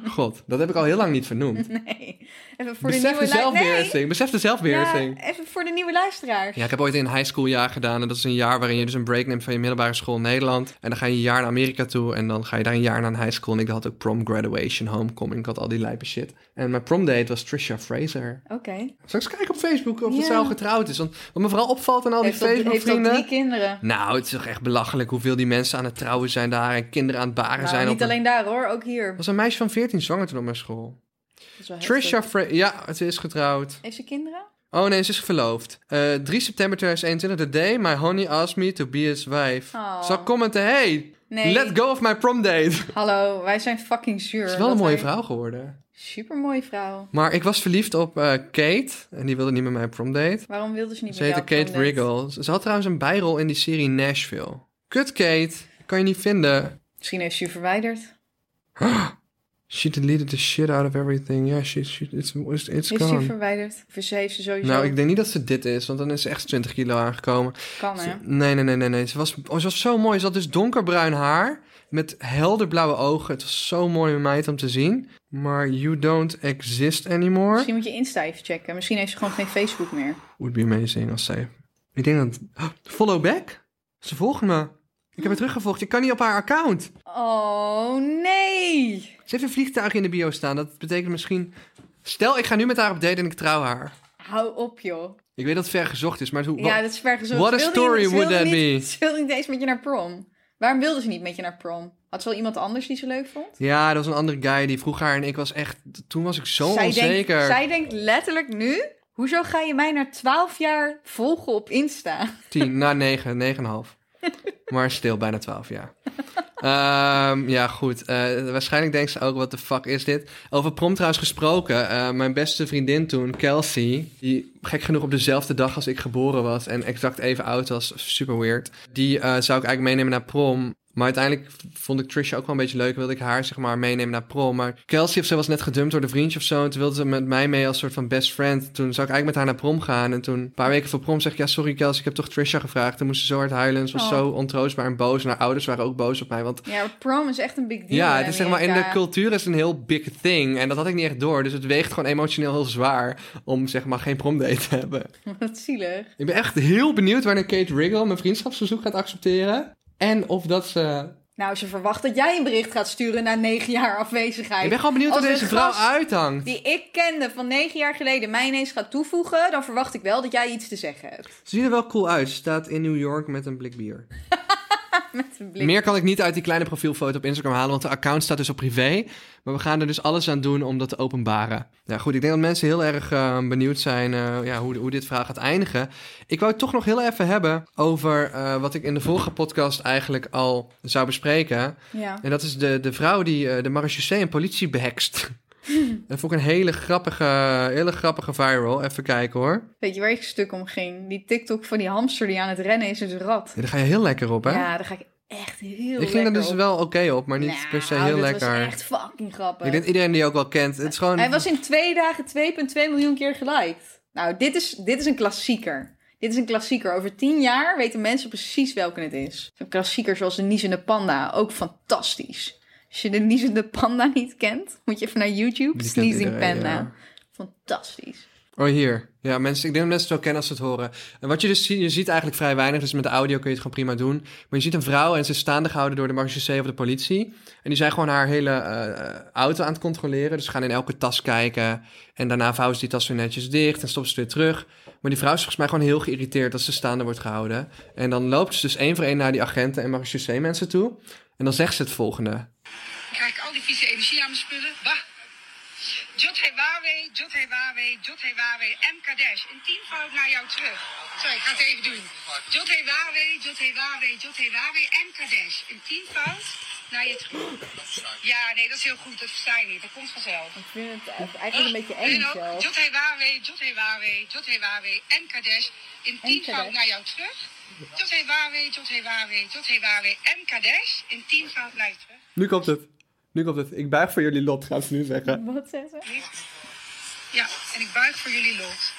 S2: God, dat heb ik al heel lang niet vernoemd.
S1: Nee. Even voor
S2: Besef
S1: de nieuwe lu-
S2: de
S1: Nee.
S2: zelfbeheersing. Besef de zelfbeheersing.
S1: Ja, even voor de nieuwe luisteraars.
S2: Ja, ik heb ooit een high school jaar gedaan. En dat is een jaar waarin je dus een break neemt van je middelbare school in Nederland. En dan ga je een jaar naar Amerika toe. En dan ga je daar een jaar naar een high school. En ik had ook prom, graduation, homecoming. Ik had al die lijpe shit. En mijn promdate was Trisha Fraser.
S1: Oké.
S2: Zal ik eens kijken op Facebook of
S1: Ja.
S2: ze al getrouwd is? Want wat me vooral opvalt aan al die
S1: Heeft, al- heeft al
S2: Facebook-vrienden...
S1: drie kinderen.
S2: Nou, het is toch echt belachelijk hoeveel die mensen aan het trouwen zijn daar. En kinderen aan het baren
S1: Nou,
S2: zijn.
S1: niet
S2: op een-
S1: alleen daar hoor, ook hier.
S2: Er was een meisje van 14 zwanger toen op mijn school.
S1: Dat is wel heftig.
S2: Trisha Fraser... Ja, ze is getrouwd.
S1: Heeft ze kinderen?
S2: Oh nee, ze is verloofd. Eh 3 september 2021, the day my honey asked me to be his wife.
S1: Oh.
S2: Zal ik commenten, hey,
S1: Nee.
S2: let go of my
S1: [laughs]
S2: prom date. Ze
S1: Hallo, wij zijn fucking zuur.
S2: is wel een mooie
S1: vrouw.
S2: vrouw geworden.
S1: Super mooie vrouw.
S2: Maar ik was verliefd op eh, Kate en die wilde niet met mijn prom date.
S1: Waarom wilde ze niet
S2: Ze
S1: met
S2: heette
S1: jou op
S2: Kate
S1: prom date?
S2: Riggle. Ze had trouwens een bijrol in die serie Nashville. Kut Kate, kan je niet vinden.
S1: Misschien heeft ze je verwijderd.
S2: She deleted the shit out of everything. Yeah, she, she, it's, it's, it's
S1: Heeft ze je
S2: gone.
S1: verwijderd? Of is ze heeft ze sowieso.
S2: Nou, ik denk niet dat ze dit is, want dan is ze echt 20 kilo aangekomen.
S1: Kan hè?
S2: Ze- Nee, nee, nee, nee, nee. Ze was, oh, ze was zo mooi. Ze had dus donkerbruin haar met helderblauwe ogen. Het was zo mooi meid om te zien. Maar you don't exist anymore.
S1: Misschien moet je Insta even checken. Misschien heeft ze gewoon geen Facebook meer.
S2: Would be amazing als zij... Ik denk dat... Oh, follow back? Ze volgt me. Ik heb haar teruggevolgd. Ik kan niet op haar account.
S1: Oh nee!
S2: Ze heeft een vliegtuig in de bio staan. Dat betekent misschien... Stel, ik ga nu met haar op date en ik trouw haar.
S1: Hou op joh.
S2: Ik weet dat het ver gezocht is, maar hoe...
S1: Ja, dat is ver gezocht.
S2: What a
S1: Ze wilde
S2: story
S1: niet- ze wilde
S2: would that
S1: niet-
S2: be?
S1: [laughs] Ze wilde niet eens met je naar prom. Waarom wilde ze niet met je naar prom? Had ze wel iemand anders die ze leuk vond?
S2: Ja, dat was een andere guy die vroeg haar en ik was echt... Toen was ik zo
S1: zij,
S2: onzeker.
S1: denkt, zij denkt letterlijk nu... Hoezo ga je mij na 12 jaar volgen op Insta? [laughs]
S2: 10, na 9, 9,5. Maar stil, bijna 12, ja. Ehm, ja, goed. Eh, waarschijnlijk denkt ze ook, wat de fuck is dit? Over prom trouwens gesproken. eh, mijn beste vriendin toen, Kelsey, die gek genoeg op dezelfde dag als ik geboren was en exact even oud was, super weird. Die eh, zou ik eigenlijk meenemen naar prom. Maar uiteindelijk vond ik Trisha ook wel een beetje leuk. Wilde ik haar, zeg maar, meenemen naar prom. Maar Kelsey of zo was net gedumpt door de vriendje of zo. En toen wilde ze met mij mee als soort van best friend. Toen zou ik eigenlijk met haar naar prom gaan. En toen, een paar weken voor prom, zeg ik... Ja, sorry Kelsey, ik heb toch Trisha gevraagd. Toen moest ze zo hard huilen. Ze was
S1: Oh.
S2: zo ontroostbaar en boos. En haar ouders waren ook boos op mij. Want
S1: Ja, maar prom is echt een big deal.
S2: ja,
S1: in
S2: het is zeg maar in de
S1: Amerika.
S2: cultuur is het een heel big thing. En dat had ik niet echt door. Dus het weegt gewoon emotioneel heel zwaar om zeg maar geen promdate te hebben.
S1: [laughs] Wat zielig.
S2: Ik ben echt heel benieuwd wanneer Kate Riggle mijn vriendschapsverzoek gaat accepteren. En of dat ze...
S1: Nou, ze verwacht dat jij een bericht gaat sturen na 9 jaar afwezigheid.
S2: Ik ben gewoon benieuwd hoe
S1: Als
S2: deze
S1: een
S2: vrouw
S1: gast-
S2: uithangt.
S1: die ik kende van negen jaar geleden mij ineens gaat toevoegen, dan verwacht ik wel dat jij iets te zeggen hebt.
S2: Ze zien er wel cool uit. Ze staat in New York met een blik bier.
S1: Met een blik.
S2: Meer kan ik niet uit die kleine profielfoto op Instagram halen, want de account staat dus op privé. Maar we gaan er dus alles aan doen om dat te openbaren. Ja, goed, ik denk dat mensen heel erg eh, benieuwd zijn eh, ja, hoe, hoe dit verhaal gaat eindigen. Ik wou het toch nog heel even hebben over eh, wat ik in de vorige podcast eigenlijk al zou bespreken.
S1: Ja.
S2: En dat is de, de vrouw die eh, de marechaussee en politie
S1: [laughs]
S2: behekst. dat vond ik een hele grappige, hele grappige viral. Even kijken hoor.
S1: Weet je waar ik stuk om ging? Die TikTok van die hamster die aan het rennen is, is een rat.
S2: Ja, daar ga je heel lekker op, hè?
S1: Ja, daar ga ik echt heel
S2: ik ging er
S1: lekker
S2: dus
S1: op.
S2: wel oké op, maar niet
S1: Nou,
S2: per se heel
S1: dat
S2: lekker.
S1: was echt fucking grappig.
S2: Ik denk iedereen die ook wel kent. Het is gewoon.
S1: Hij was in twee dagen 2,2 miljoen keer geliked. Nou, dit is, dit is een klassieker. Dit is een klassieker. Over tien jaar weten mensen precies welke het is. Een klassieker zoals de niezende panda. Ook fantastisch. Als je de niezende panda niet kent, moet je even naar YouTube.
S2: Die kent
S1: Sneezing
S2: iedereen,
S1: panda.
S2: ja.
S1: Fantastisch.
S2: Oh, hier. Ja, mensen, ik denk dat mensen het wel kennen als ze het horen. En wat je dus ziet, je ziet eigenlijk vrij weinig, dus met de audio kun je het gewoon prima doen. Maar je ziet een vrouw en ze is staande gehouden door de marechaussee of de politie. En die zijn gewoon haar hele eh, auto aan het controleren. Dus ze gaan in elke tas kijken. En daarna vouwen ze die tas weer netjes dicht en stoppen ze het weer terug. Maar die vrouw is volgens mij gewoon heel geïrriteerd dat ze staande wordt gehouden. En dan loopt ze dus één voor één naar die agenten en marechaussee mensen toe. En dan zegt ze het volgende.
S3: Kijk, al die vieze energie aan mijn spullen. Bah. Jot Hewawe, Jot Hewawe, Jot Hewawe en Kadesh. In tienvoud naar jou terug. Sorry, ik ga het even doen. Jot Hewawe, Jot Hewawe, Jot Hewawe en Kadesh. In tienvoud naar je terug. Ja, nee, dat is heel goed. Dat versta je niet. Dat komt vanzelf.
S1: Ik vind het eigenlijk een beetje
S3: En
S1: eng
S3: ook
S1: zelf.
S3: Jot Hewawe, Jot Hewawe, Jot Hewawe en Kadesh. In tienvoud
S1: Kadesh.
S3: naar jou terug. Jot Hewawe, Jot Hewawe, Jot Hewawe en Kadesh. In tienvoud naar je terug.
S2: Nu komt het. Nu komt het. Ik buig voor jullie lot, gaan ze nu zeggen.
S1: Wat zegt ze?
S3: Ja, en ik buig voor jullie lot.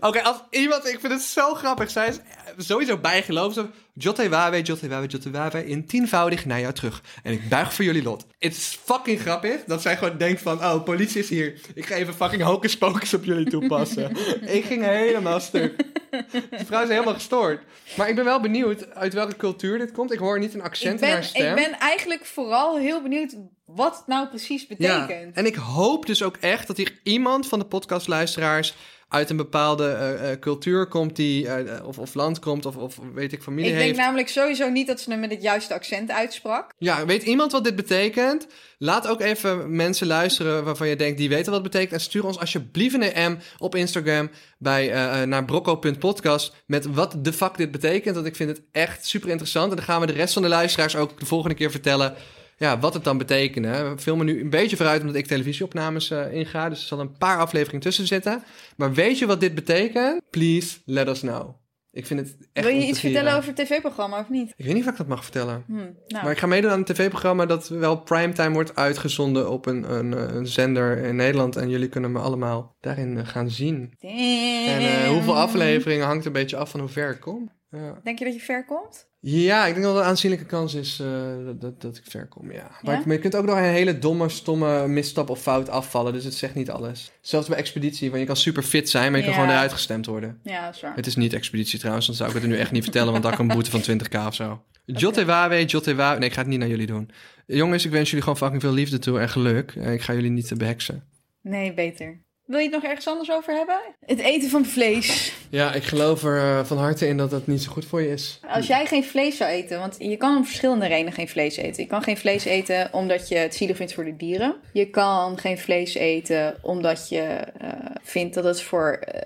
S2: Oké, als iemand, ik vind het zo grappig. Zij is eh, sowieso bijgeloofd. Jotte Wawe, Jotte Wawe, Jotte Wawe. In tienvoudig naar jou terug. En ik buig voor jullie lot. Het is fucking grappig dat zij gewoon denkt van... Oh, politie is hier. Ik ga even fucking hocus pocus op jullie
S1: [laughs]
S2: toepassen. ik ging helemaal stuk. Die vrouw is helemaal gestoord. Maar ik ben wel benieuwd uit welke cultuur dit komt. Ik hoor niet een accent
S1: Ik
S2: in
S1: ben,
S2: haar stem.
S1: ik ben eigenlijk vooral heel benieuwd wat het nou precies
S2: Ja,
S1: betekent.
S2: en ik hoop dus ook echt dat hier iemand van de podcastluisteraars uit een bepaalde eh, eh, cultuur komt die, eh, of, of land komt, of, of weet ik, familie
S1: ik denk
S2: heeft.
S1: namelijk sowieso niet dat ze hem met het juiste accent uitsprak.
S2: Ja, weet iemand wat dit betekent? Laat ook even mensen luisteren waarvan je denkt, die weten wat het betekent. En stuur ons alsjeblieft een M op Instagram bij, eh, eh, naar brocco.podcast met wat de fuck dit betekent. Want ik vind het echt super interessant. En dan gaan we de rest van de luisteraars ook de volgende keer vertellen ja, wat het dan betekende. We filmen nu een beetje vooruit omdat ik televisieopnames eh, inga. Dus er zal een paar afleveringen tussen zitten. Maar weet je wat dit betekent? Please let us know. Ik vind het echt
S1: Wil
S2: om
S1: je
S2: te
S1: iets
S2: vieren.
S1: vertellen over het tv-programma of niet?
S2: Ik weet niet of ik dat mag vertellen.
S1: Hm, nou.
S2: Maar ik ga meedoen aan een tv-programma dat wel primetime wordt uitgezonden op een, een, eh, een zender in Nederland. En jullie kunnen me allemaal daarin eh, gaan zien. En
S1: Ehm.
S2: eh, hoeveel afleveringen hangt een beetje af van hoe ver ik kom. Ja,
S1: Denk je dat je ver komt?
S2: ja ik denk dat er een aanzienlijke kans is eh, dat, dat, dat ik ver kom, ja. Maar,
S1: Ja?
S2: ik- maar je kunt ook nog een hele domme, stomme misstap of fout afvallen. Dus het zegt niet alles. Zelfs bij expeditie, want je kan super fit zijn, maar je kan
S1: Ja.
S2: gewoon eruit gestemd worden.
S1: Ja, dat is waar.
S2: Het is niet expeditie trouwens, dan zou ik het er nu echt niet vertellen, want daar kan een boete van 20k of zo. Jotte Wawe, Jotte Wawe. Nee, ik ga het niet naar jullie doen. Jongens, ik wens jullie gewoon fucking veel liefde toe en geluk. En ik ga jullie niet eh, beheksen.
S1: Nee, beter. Wil je het nog ergens anders over hebben? Het eten van vlees.
S2: Ja, ik geloof er eh, van harte in dat dat niet zo goed voor je is.
S1: Als jij geen vlees zou eten, want je kan om verschillende redenen geen vlees eten. Je kan geen vlees eten omdat je het zielig vindt voor de dieren. Je kan geen vlees eten omdat je eh, vindt dat het voor eh,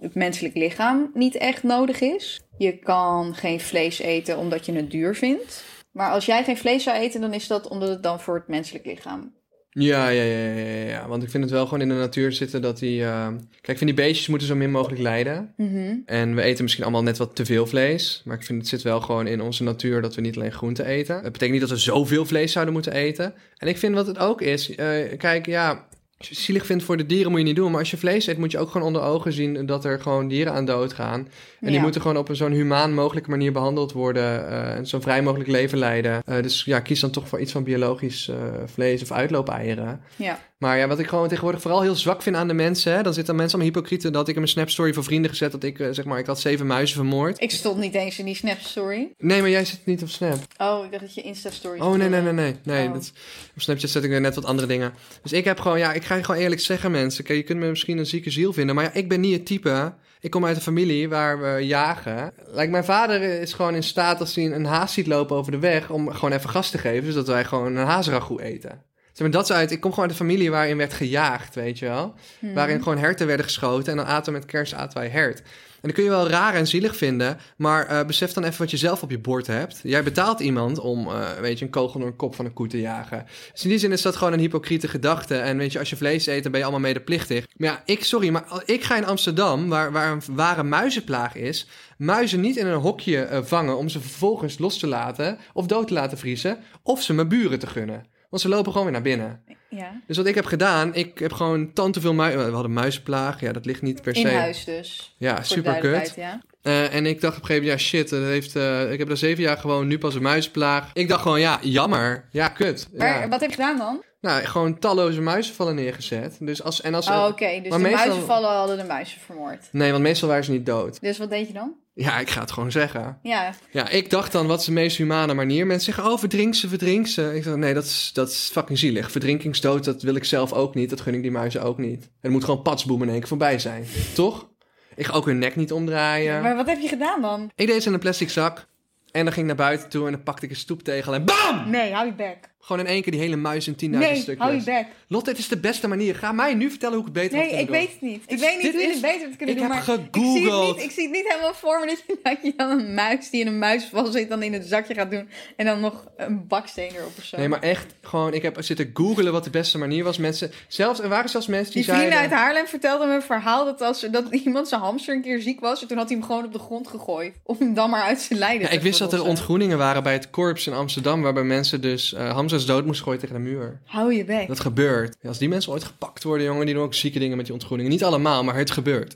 S1: het menselijk lichaam niet echt nodig is. Je kan geen vlees eten omdat je het duur vindt. Maar als jij geen vlees zou eten, dan is dat omdat het dan voor het menselijk lichaam.
S2: Ja, ja, ja, ja, ja, ja. Want ik vind het wel gewoon in de natuur zitten dat die... eh, Kijk, ik vind die beestjes moeten zo min mogelijk lijden.
S1: Mhm.
S2: En we eten misschien allemaal net wat te veel vlees. Maar ik vind het zit wel gewoon in onze natuur dat we niet alleen groenten eten. Het betekent niet dat we zoveel vlees zouden moeten eten. En ik vind wat het ook is. eh, kijk, ja. Als je het zielig vindt voor de dieren moet je niet doen. Maar als je vlees eet, moet je ook gewoon onder ogen zien dat er gewoon dieren aan dood gaan. En die
S1: Ja.
S2: moeten gewoon op een zo'n humaan mogelijke manier behandeld worden. eh, en zo vrij mogelijk leven leiden. Eh, dus ja, kies dan toch voor iets van biologisch eh, vlees of uitloopeieren.
S1: Ja.
S2: Maar ja, wat ik gewoon tegenwoordig vooral heel zwak vind aan de mensen. Hè, dan zitten mensen allemaal hypocrieten. Dat had ik in mijn snapstory voor vrienden gezet dat ik eh, zeg maar, ik had zeven muizen vermoord.
S1: Ik stond niet eens in die Snap-story.
S2: Nee, maar jij zit niet op Snap.
S1: Oh, ik dacht dat je Insta-story
S2: Oh nee, nee, nee, nee. nee
S1: Oh.
S2: dat, op Snapchat zet ik weer net wat andere dingen. Dus ik heb gewoon, ja, ik ga je gewoon eerlijk zeggen, mensen. Kijk, je kunt me misschien een zieke ziel vinden, maar ja, ik ben niet het type. Ik kom uit een familie waar we jagen. Like, mijn vader is gewoon in staat als hij een haas ziet lopen over de weg om gewoon even gas te geven, zodat wij gewoon een hazenragout eten. Zeg maar, dat is uit. Ik kom gewoon uit een familie waarin werd gejaagd, weet je wel. Waarin gewoon herten werden geschoten. En dan aten we met kerst aten wij hert. En dat kun je wel raar en zielig vinden. Maar eh, besef dan even wat je zelf op je bord hebt. Jij betaalt iemand om eh, weet je, een kogel door een kop van een koe te jagen. Dus in die zin is dat gewoon een hypocriete gedachte. En weet je, als je vlees eet, dan ben je allemaal medeplichtig. Maar ja, ik, sorry, maar al- ik ga in Amsterdam, waar, waar een ware muizenplaag is. Muizen niet in een hokje eh, vangen om ze vervolgens los te laten of dood te laten vriezen. Of ze mijn buren te gunnen. Want ze lopen gewoon weer naar binnen.
S1: Ja.
S2: Dus wat ik heb gedaan, ik heb gewoon tant te veel muizen. We hadden muizenplaag, ja, dat ligt niet per se.
S1: In huis dus.
S2: Ja,
S1: Voor de
S2: super
S1: duidelijkheid,
S2: kut.
S1: Ja.
S2: Eh, en ik dacht op een gegeven moment, ja shit, dat heeft, eh, ik heb daar zeven jaar gewoon, nu pas een muizenplaag. Ik dacht gewoon, ja, jammer. Ja, kut.
S1: Maar
S2: Ja.
S1: wat heb je gedaan dan?
S2: Nou, gewoon talloze muizenvallen neergezet. Dus als, en als,
S1: Oh,
S2: eh,
S1: oké. Dus
S2: maar
S1: de
S2: meestal-
S1: muizenvallen hadden de muizen vermoord.
S2: Nee, want meestal waren ze niet dood.
S1: Dus wat deed je dan?
S2: Ja, ik ga het gewoon zeggen.
S1: Ja,
S2: Ja, ik dacht dan, wat is de meest humane manier? Mensen zeggen, oh, verdrink ze, verdrink ze. Ik dacht, nee, dat is, dat is fucking zielig. Verdrinkingsdood, dat wil ik zelf ook niet. Dat gun ik die muizen ook niet. Er moet gewoon patsboem in één keer voorbij zijn. Toch? Ik ga ook hun nek niet omdraaien.
S1: maar wat heb je gedaan dan?
S2: Ik deed ze in een plastic zak. En dan ging ik naar buiten toe en dan pakte ik een stoeptegel en BAM!
S1: Nee, hou je bek.
S2: Gewoon in één keer die hele muis in 10.000
S1: Nee,
S2: stukjes.
S1: hou je bek.
S2: Lotte, het is de beste manier. Ga mij nu vertellen hoe ik het beter had
S1: Nee, ik
S2: kunnen doen.
S1: weet het niet. Ik
S2: Dit-
S1: weet niet
S2: dit
S1: hoe je
S2: is-
S1: het beter hebt kunnen
S2: ik
S1: doen.
S2: heb
S1: maar Ik zie, het
S2: gegoogeld.
S1: niet, ik zie het niet helemaal voor me dat je, dat je dan een muis die in een muisval zit dan in het zakje gaat doen. En dan nog een baksteen erop of zo.
S2: Nee, maar echt, gewoon, ik heb zitten googelen wat de beste manier was. Mensen, zelfs, er waren zelfs mensen die,
S1: Die vrienden uit
S2: zeiden...
S1: Haarlem vertelden me een verhaal dat, als, dat iemand zijn hamster een keer ziek was. En toen had hij hem gewoon op de grond gegooid. Om hem dan maar uit zijn lijden
S2: Ja,
S1: te
S2: ik wist dat er
S1: verlossen.
S2: ontgroeningen waren bij het korps in Amsterdam... waarbij mensen dus eh Hamza's dood moesten gooien tegen de muur.
S1: Hou je bek.
S2: [laughs] Dat gebeurt. Ja, Als die mensen ooit gepakt worden, jongen, die doen ook zieke dingen met die ontgroeningen. Niet allemaal, maar het gebeurt.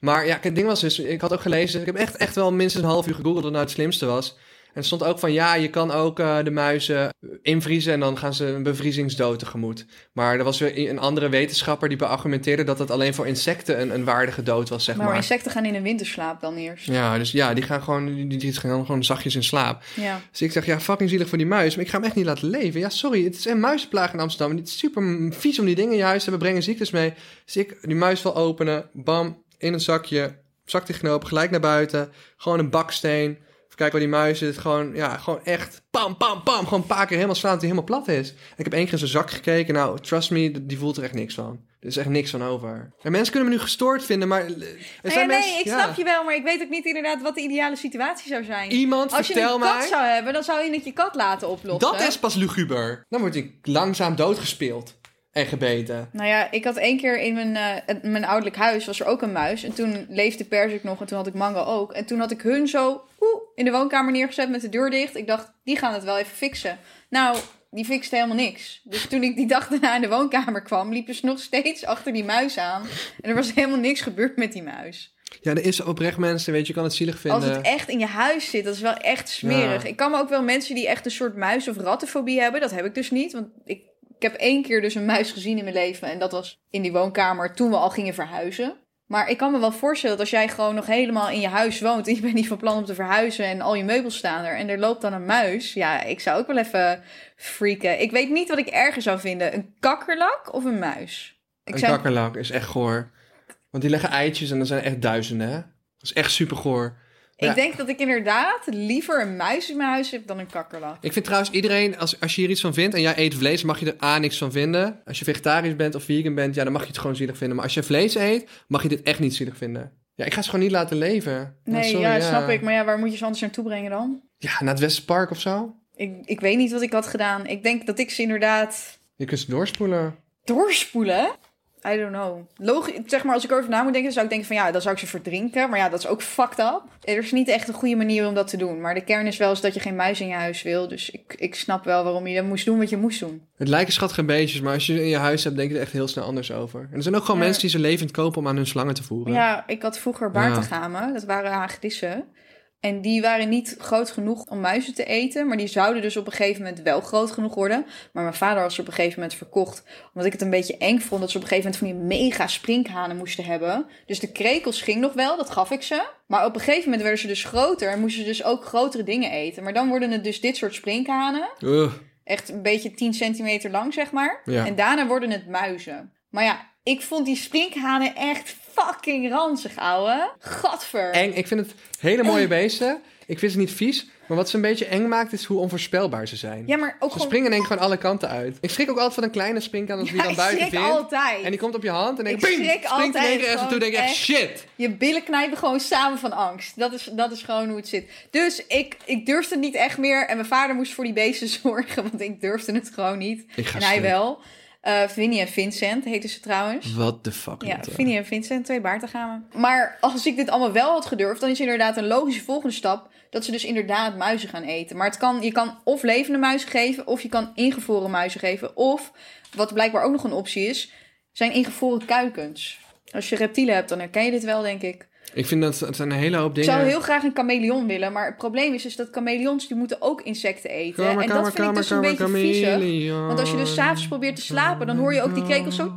S2: Maar ja, het ding was dus, ik had ook gelezen, ik heb echt, echt wel minstens een half uur gegoogeld wat nou het slimste was. En er stond ook van, ja, je kan ook eh, de muizen invriezen en dan gaan ze een bevriezingsdood tegemoet. Maar er was weer i- een andere wetenschapper die beargumenteerde dat dat alleen voor insecten een, een waardige dood was, zeg
S1: maar,
S2: maar.
S1: insecten gaan in een winterslaap dan eerst.
S2: Ja, dus ja, die gaan gewoon, die, die die gaan gewoon zachtjes in slaap.
S1: Ja.
S2: Dus ik dacht, ja, fucking zielig voor die muis. Maar ik ga hem echt niet laten leven. Ja, sorry, het is een muizenplaag in Amsterdam. En het is super m- vies om die dingen in je huis te hebben. Brengen ziektes mee. Dus ik die muis wil openen. Bam, in een zakje. Zak die knoop, gelijk naar buiten. Gewoon een baksteen. Even kijken waar die muis zit. Gewoon, ja, gewoon echt pam, pam, pam. Gewoon een paar keer helemaal slaan dat hij helemaal plat is. En ik heb één keer in zijn zak gekeken. Nou, trust me, d- die voelt er echt niks van. Er is echt niks van over. En mensen kunnen me nu gestoord vinden, maar... eh, Er
S1: Nou ja, nee, ik snap je wel, maar ik weet ook niet inderdaad wat de ideale situatie zou zijn.
S2: Iemand
S1: Als je
S2: vertel
S1: een kat
S2: mij...
S1: zou hebben, dan zou je het je kat laten oplossen.
S2: Dat is pas luguber. Dan word ik langzaam doodgespeeld en gebeten.
S1: Nou ja, ik had één keer in mijn, eh, het- mijn ouderlijk huis was er ook een muis. En toen leefde Perzik nog en toen had ik Mango ook. En toen had ik hun zo oeh, in de woonkamer neergezet met de deur dicht. Ik dacht, die gaan het wel even fixen. Nou, die fixte helemaal niks. Dus toen ik die dag daarna in de woonkamer kwam, liepen ze nog steeds achter die muis aan. En er was helemaal niks gebeurd met die muis.
S2: Ja, er is oprecht mensen, weet je, je kan het zielig vinden.
S1: Als het echt in je huis zit, dat is wel echt smerig.
S2: Ja.
S1: Ik kan me ook wel mensen die echt een soort muis- of rattenfobie hebben. Dat heb ik dus niet, want ik, ik heb één keer dus een muis gezien in mijn leven. En dat was in die woonkamer toen we al gingen verhuizen. Maar ik kan me wel voorstellen dat als jij gewoon nog helemaal in je huis woont... en je bent niet van plan om te verhuizen en al je meubels staan er... en er loopt dan een muis. Ja, ik zou ook wel even freaken. Ik weet niet wat ik erger zou vinden. Een kakkerlak of een muis? Ik
S2: een
S1: zou-
S2: kakkerlak is echt goor. Want die leggen eitjes en er zijn echt duizenden, hè? Dat is echt super goor.
S1: Ik
S2: Ja.
S1: denk dat ik inderdaad liever een muis in mijn huis heb dan een kakkerlak.
S2: Ik vind trouwens iedereen, als, als je hier iets van vindt en jij eet vlees, mag je er A niks van vinden. Als je vegetarisch bent of vegan bent, ja, dan mag je het gewoon zielig vinden. Maar als je vlees eet, mag je dit echt niet zielig vinden. Ja, ik ga ze gewoon niet laten leven.
S1: Nee,
S2: Nou, sorry,
S1: ja, snap ik. Maar ja, waar moet je ze anders naartoe brengen dan?
S2: Ja, naar het Westenpark of zo?
S1: Ik, ik weet niet wat ik had gedaan. Ik denk dat ik ze inderdaad
S2: Je kunt ze doorspoelen.
S1: doorspoelen. I don't know. Logisch, zeg maar, als ik erover na moet denken, dan zou ik denken van ja, dan zou ik ze verdrinken. Maar ja, dat is ook fucked up. Er is niet echt een goede manier om dat te doen. Maar de kern is wel eens dat je geen muis in je huis wil. Dus ik, ik snap wel waarom je moest doen wat je moest doen.
S2: Het lijken schattige beestjes, maar als je ze in je huis hebt, denk je er echt heel snel anders over. En er zijn ook gewoon
S1: Ja.
S2: mensen die ze levend kopen om aan hun slangen te voeren.
S1: Ja, ik had vroeger baartegamen. Dat waren hagedissen. En die waren niet groot genoeg om muizen te eten. Maar die zouden dus op een gegeven moment wel groot genoeg worden. Maar mijn vader was ze op een gegeven moment verkocht. Omdat ik het een beetje eng vond dat ze op een gegeven moment van die mega sprinkhanen moesten hebben. Dus de krekels ging nog wel, dat gaf ik ze. Maar op een gegeven moment werden ze dus groter. En moesten ze dus ook grotere dingen eten. Maar dan worden het dus dit soort sprinkhanen.
S2: Ugh.
S1: Echt een beetje 10 centimeter lang, zeg maar.
S2: Ja.
S1: En daarna worden het muizen. Maar ja, ik vond die sprinkhanen echt fucking ranzig, ouwe. Gadver.
S2: Eng. Ik vind het hele mooie beesten. Ik vind ze niet vies, maar wat ze een beetje eng maakt is hoe onvoorspelbaar ze zijn.
S1: Ja, maar ook
S2: ze
S1: gewoon...
S2: springen denk ik gewoon alle kanten uit. Ik schrik ook altijd van een kleine springkaan als die
S1: Ja,
S2: dan
S1: ik
S2: buiten
S1: schrik
S2: vindt.
S1: altijd.
S2: En die komt op je hand en denk
S1: Ik
S2: ik, ping,
S1: schrik
S2: springt er
S1: altijd
S2: tegen en toe
S1: gewoon
S2: denk ik echt,
S1: echt.
S2: shit.
S1: Je billen knijpen gewoon samen van angst. Dat is, dat is gewoon hoe het zit. Dus ik, ik durfde het niet echt meer. En mijn vader moest voor die beesten [laughs] zorgen, want ik durfde het gewoon niet.
S2: Ik ga
S1: en hij
S2: stuk.
S1: wel. Eh Vinnie en Vincent heten ze trouwens.
S2: What the fuck.
S1: Ja,
S2: Lotte.
S1: Vinnie en Vincent, twee baartegamen. Maar als ik dit allemaal wel had gedurfd, dan is inderdaad een logische volgende stap dat ze dus inderdaad muizen gaan eten. Maar het kan, je kan of levende muizen geven, of je kan ingevroren muizen geven. Of, wat blijkbaar ook nog een optie is, zijn ingevroren kuikens. Als je reptielen hebt, dan herken je dit wel, denk ik.
S2: Ik vind dat het een hele hoop
S1: Ik
S2: dingen...
S1: zou heel graag een chameleon willen, maar het probleem is dus dat chameleons die moeten ook insecten eten.
S2: Kamer,
S1: en dat
S2: kamer,
S1: vind ik
S2: kamer,
S1: dus
S2: kamer,
S1: een beetje viezig.
S2: chameleon.
S1: Want als je dus s'avonds probeert te slapen, dan hoor je ook die krekels zo...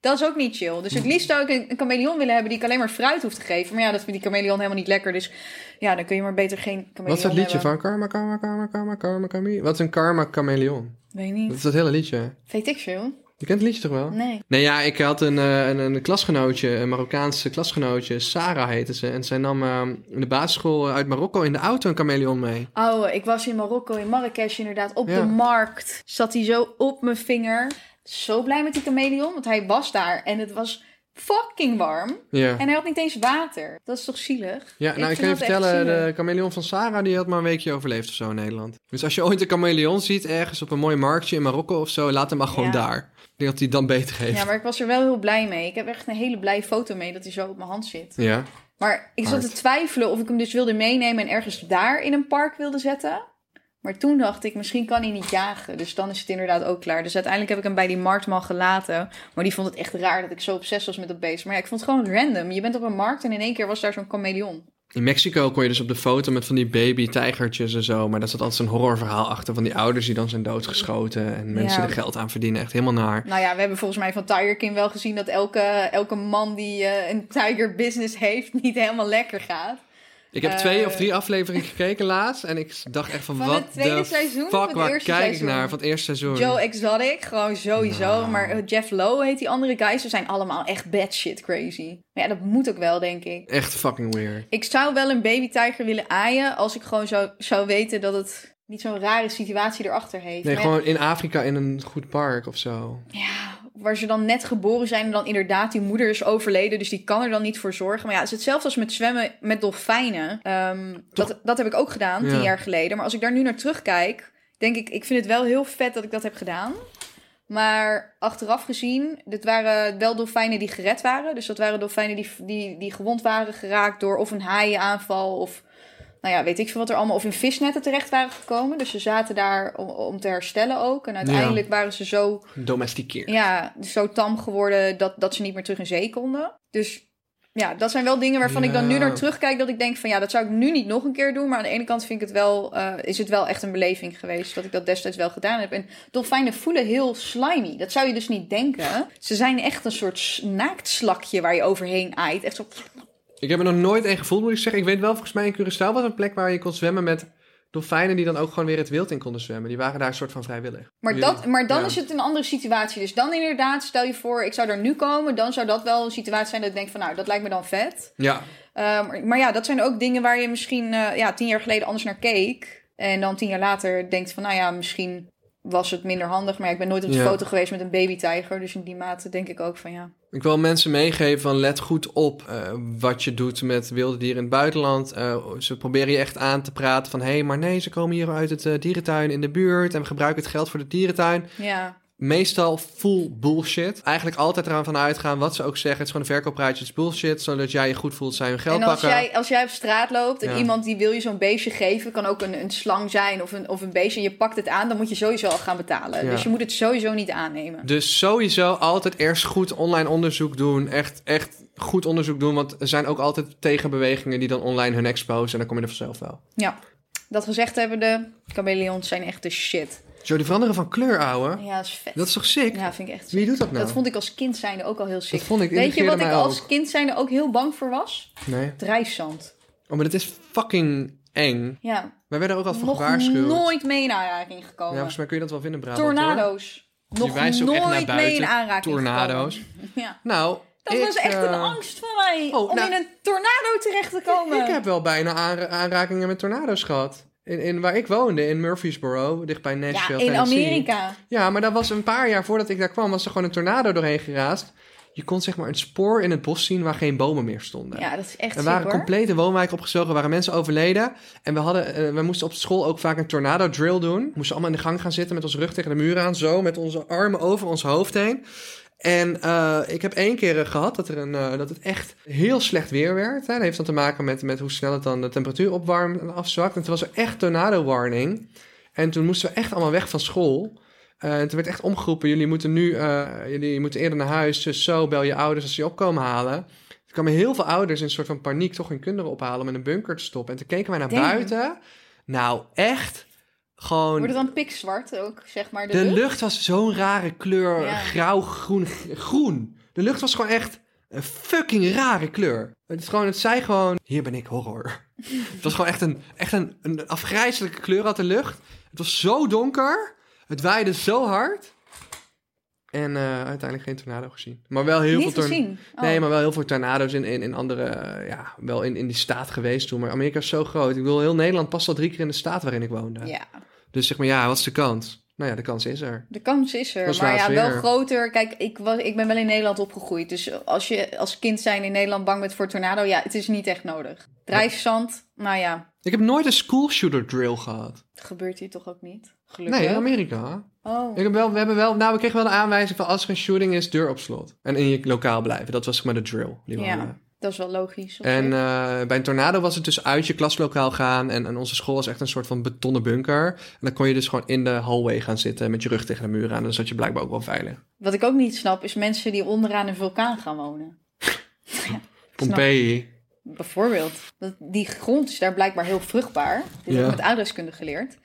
S1: Dat is ook niet chill. Dus
S2: Mm.
S1: het liefst zou ik een, een chameleon willen hebben die ik alleen maar fruit hoef te geven. Maar ja, dat vind die chameleon helemaal niet lekker. Dus ja, dan kun je maar beter geen chameleon
S2: Wat is dat liedje
S1: hebben.
S2: van? Karma, karma, karma, karma, karma, karma. Wat is een karma chameleon?
S1: Weet
S2: Dat
S1: niet.
S2: is dat hele liedje.
S1: Weet ik veel.
S2: Je kent het liedje toch wel?
S1: Nee.
S2: Nee, ja, ik had een, eh, een, een klasgenootje, een Marokkaanse klasgenootje, Sarah heette ze. En zij nam eh, in de basisschool eh, uit Marokko in de auto een chameleon mee.
S1: Oh, ik was in Marokko, in Marrakesh inderdaad, op
S2: Ja.
S1: de markt. Zat hij zo op mijn vinger. Zo blij met die chameleon, want hij was daar en het was fucking warm.
S2: Ja.
S1: En hij had niet eens water. Dat is toch zielig?
S2: Ja,
S1: vind
S2: nou, ik kan je
S1: dat echt
S2: vertellen,
S1: zielig.
S2: de chameleon van Sarah, die had maar een weekje overleefd of zo in Nederland. Dus als je ooit een chameleon ziet, ergens op een mooi marktje in Marokko of zo, laat hem maar gewoon
S1: Ja.
S2: daar. Ik denk dat hij het dan beter geeft.
S1: Ja, maar ik was er wel heel blij mee. Ik heb echt een hele blij foto mee dat hij zo op mijn hand zit.
S2: Ja.
S1: Maar ik zat te
S2: Hard.
S1: twijfelen of ik hem dus wilde meenemen en ergens daar in een park wilde zetten. Maar toen dacht ik, misschien kan hij niet jagen. Dus dan is het inderdaad ook klaar. Dus uiteindelijk heb ik hem bij die marktman gelaten. Maar die vond het echt raar dat ik zo obsessief was met dat beest. Maar ja, ik vond het gewoon random. Je bent op een markt en in één keer was daar zo'n chameleon.
S2: In Mexico kon je dus op de foto met van die baby tijgertjes en zo. Maar daar zat altijd zo'n horrorverhaal achter van die ouders die dan zijn doodgeschoten. En mensen
S1: Ja.
S2: er geld aan verdienen. Echt helemaal naar.
S1: Nou ja, we hebben volgens mij van Tiger King wel gezien dat elke, elke man die eh, een tiger business heeft niet helemaal lekker gaat.
S2: Ik heb
S1: Eh.
S2: twee of drie afleveringen gekeken laatst. En ik dacht echt van,
S1: Van
S2: wat
S1: het tweede
S2: de
S1: seizoen of
S2: fuck,
S1: het
S2: waar kijk
S1: eerste
S2: ik
S1: seizoen?
S2: naar van het eerste seizoen?
S1: Joe Exotic, gewoon sowieso.
S2: Nou.
S1: Maar eh, Jeff Lowe heet die andere guy. Ze zijn allemaal echt bad shit crazy. Maar ja, dat moet ook wel, denk ik.
S2: Echt fucking weird.
S1: Ik zou wel een babytijger willen aaien als ik gewoon zou, zou weten dat het niet zo'n rare situatie erachter heeft.
S2: Nee,
S1: Maar
S2: gewoon in Afrika in een goed park of zo.
S1: ja, waar ze dan net geboren zijn en dan inderdaad die moeder is overleden, dus die kan er dan niet voor zorgen. Maar ja, het is hetzelfde als met zwemmen met dolfijnen. Ehm, dat, dat heb ik ook gedaan, tien
S2: Ja.
S1: jaar geleden. Maar als ik daar nu naar terugkijk, denk ik, ik vind het wel heel vet dat ik dat heb gedaan. Maar achteraf gezien, dit waren wel dolfijnen die gered waren. Dus dat waren dolfijnen die, die, die gewond waren geraakt door of een haaienaanval of... Nou ja, weet ik veel wat er allemaal... Of in visnetten terecht waren gekomen. Dus ze zaten daar om, om te herstellen ook. En uiteindelijk waren ze zo
S2: Domestikeerd.
S1: ja, dus zo tam geworden dat, dat ze niet meer terug in zee konden. Dus ja, dat zijn wel dingen waarvan ik dan nu
S2: Ja.
S1: naar terugkijk. Dat ik denk van ja, dat zou ik nu niet nog een keer doen. Maar aan de ene kant vind ik het wel, eh, is het wel echt een beleving geweest. Dat ik dat destijds wel gedaan heb. En dolfijnen voelen heel slimy. Dat zou je dus niet denken. Ze zijn echt een soort s- naaktslakje waar je overheen aait. Echt zo...
S2: Ik heb er nog nooit een gevoeld, moet ik zeggen. Ik weet wel, volgens mij in Curaçao was een plek waar je kon zwemmen met dolfijnen die dan ook gewoon weer het wild in konden zwemmen. Die waren daar een soort van vrijwillig.
S1: Maar, dat, maar dan
S2: Ja.
S1: is het een andere situatie. Dus dan inderdaad, stel je voor, ik zou daar nu komen. Dan zou dat wel een situatie zijn dat ik denk van nou, dat lijkt me dan vet.
S2: Ja,
S1: Uh, maar, maar ja, dat zijn ook dingen waar je misschien eh, ja, tien jaar geleden anders naar keek. En dan tien jaar later denkt van, nou ja, misschien was het minder handig. Maar ja, ik ben nooit op de
S2: Ja.
S1: foto geweest met een babytijger. Dus in die mate denk ik ook van, ja.
S2: Ik wil mensen meegeven van let goed op eh, wat je doet met wilde dieren in het buitenland. Eh, ze proberen je echt aan te praten van... hé, hey, maar nee, ze komen hier uit het eh, dierentuin in de buurt... en we gebruiken het geld voor de dierentuin.
S1: Ja,
S2: Meestal full bullshit. Eigenlijk altijd eraan van uitgaan wat ze ook zeggen. Het is gewoon een verkooppraatje, het is bullshit... zodat jij je goed voelt, zij hun geld
S1: en als
S2: pakken.
S1: jij, als jij op straat loopt en
S2: Ja.
S1: iemand die wil je zo'n beestje geven... kan ook een, een slang zijn of een, of een beestje en je pakt het aan... dan moet je sowieso al gaan betalen.
S2: Ja.
S1: Dus je moet het sowieso niet aannemen.
S2: Dus sowieso altijd eerst goed online onderzoek doen. Echt, echt goed onderzoek doen. Want er zijn ook altijd tegenbewegingen die dan online hun exposen. En dan kom je er vanzelf wel.
S1: Ja, dat gezegd hebbende, chameleons zijn echt de shit.
S2: Zo, die veranderen van kleur, ouwe.
S1: Ja, dat is vet.
S2: Dat is toch sick?
S1: Ja, vind ik echt
S2: Wie doet dat nou?
S1: Dat vond ik als kind zijnde ook al heel sick.
S2: Dat vond ik,
S1: Weet je
S2: irriteerde
S1: wat ik
S2: mij ook.
S1: als kind zijnde ook heel bang voor was?
S2: Nee.
S1: Drijfzand.
S2: Oh, maar dat is fucking eng.
S1: Ja,
S2: Wij werden er ook altijd voor
S1: nog
S2: gewaarschuwd.
S1: nooit mee in aanraking
S2: Ja,
S1: gekomen.
S2: volgens mij kun je dat wel vinden, Brabant. hoor.
S1: Tornado's.
S2: Die
S1: Nog
S2: wijzen ook echt naar
S1: nooit mee in
S2: buiten.
S1: aanraking
S2: Tornado's.
S1: gekomen. Ja.
S2: Nou,
S1: Dat
S2: ik,
S1: was echt een
S2: eh,
S1: angst van mij,
S2: oh,
S1: om
S2: nou-
S1: in een tornado terecht te komen.
S2: Ik heb wel bijna aanra- aanrakingen met tornado's gehad. In, in waar ik woonde, in Murfreesboro, dichtbij
S1: ja,
S2: Nashville,
S1: in
S2: Tennessee.
S1: Amerika.
S2: Ja, maar dat was een paar jaar voordat ik daar kwam, was er gewoon een tornado doorheen geraast. Je kon zeg maar een spoor in het bos zien waar geen bomen meer stonden.
S1: Ja, dat is echt
S2: er
S1: sick
S2: waren
S1: hoor.
S2: complete woonwijken opgezogen, waren mensen overleden. En we, hadden, eh, we moesten op school ook vaak een tornado drill doen. We moesten allemaal in de gang gaan zitten met onze rug tegen de muur aan, zo, met onze armen over ons hoofd heen. En eh, ik heb één keer eh, gehad dat, er een, eh, dat het echt heel slecht weer werd. Hè. Dat heeft dan te maken met, met hoe snel het dan de temperatuur opwarmt en afzwakt. En toen was er echt tornado warning. En toen moesten we echt allemaal weg van school. Eh, Eh, het werd echt omgeroepen. Jullie moeten nu eh, jullie moeten eerder naar huis. Dus zo bel je ouders als ze je opkomen halen. Er kwamen heel veel ouders in een soort van paniek toch hun kinderen ophalen om in een bunker te stoppen. En toen keken wij naar
S1: Damn.
S2: buiten. Nou, echt gewoon.
S1: Wordt het dan pikzwart ook, zeg maar, de,
S2: De
S1: lucht?
S2: lucht was zo'n rare kleur.
S1: Ja.
S2: Grauw, groen, g- groen. De lucht was gewoon echt een fucking rare kleur. Het, is gewoon, het zei gewoon, hier ben ik
S1: [laughs]
S2: horror. het was gewoon echt, een, echt een, een afgrijzelijke kleur had de lucht. Het was zo donker. Het waaide zo hard. En eh, uiteindelijk geen tornado gezien. Maar wel heel
S1: Niet
S2: veel tornado's.
S1: gezien. Oh.
S2: Nee, maar wel heel veel tornado's in, in, in andere, eh, ja, wel in, in die staat geweest toen. Maar Amerika is zo groot. Ik bedoel, heel Nederland past al drie keer in de staat waarin ik woonde.
S1: Ja,
S2: Dus zeg maar, ja, wat is de kans? Nou ja, de kans is er.
S1: de kans is er.
S2: Dat is
S1: maar ja,
S2: laatst
S1: wel
S2: weer.
S1: groter. Kijk, ik, was, ik ben wel in Nederland opgegroeid. Dus als je als kind zijn in Nederland bang bent voor tornado, ja, het is niet echt nodig. Drijfzand, nou ja,
S2: Ik heb nooit een school shooter drill gehad.
S1: dat gebeurt hier toch ook niet? Gelukkig.
S2: Nee, in Amerika.
S1: Oh,
S2: Ik heb wel, we, hebben wel, nou, we kregen wel de aanwijzing van als er een shooting is, deur op slot. En in je lokaal blijven. Dat was zeg maar de drill. Die we
S1: ja,
S2: hadden.
S1: dat is wel logisch. op
S2: En
S1: zich.
S2: eh, bij een tornado was het dus uit je klaslokaal gaan. En, en onze school was echt een soort van betonnen bunker. En dan kon je dus gewoon in de hallway gaan zitten met je rug tegen de muur aan. En dan zat je blijkbaar ook wel veilig.
S1: Wat ik ook niet snap, is mensen die onderaan een vulkaan gaan wonen.
S2: Pompeii.
S1: Bijvoorbeeld. Dat- Die grond is daar blijkbaar heel vruchtbaar. Dit
S2: Ja.
S1: heb ik met aardrijkskunde geleerd.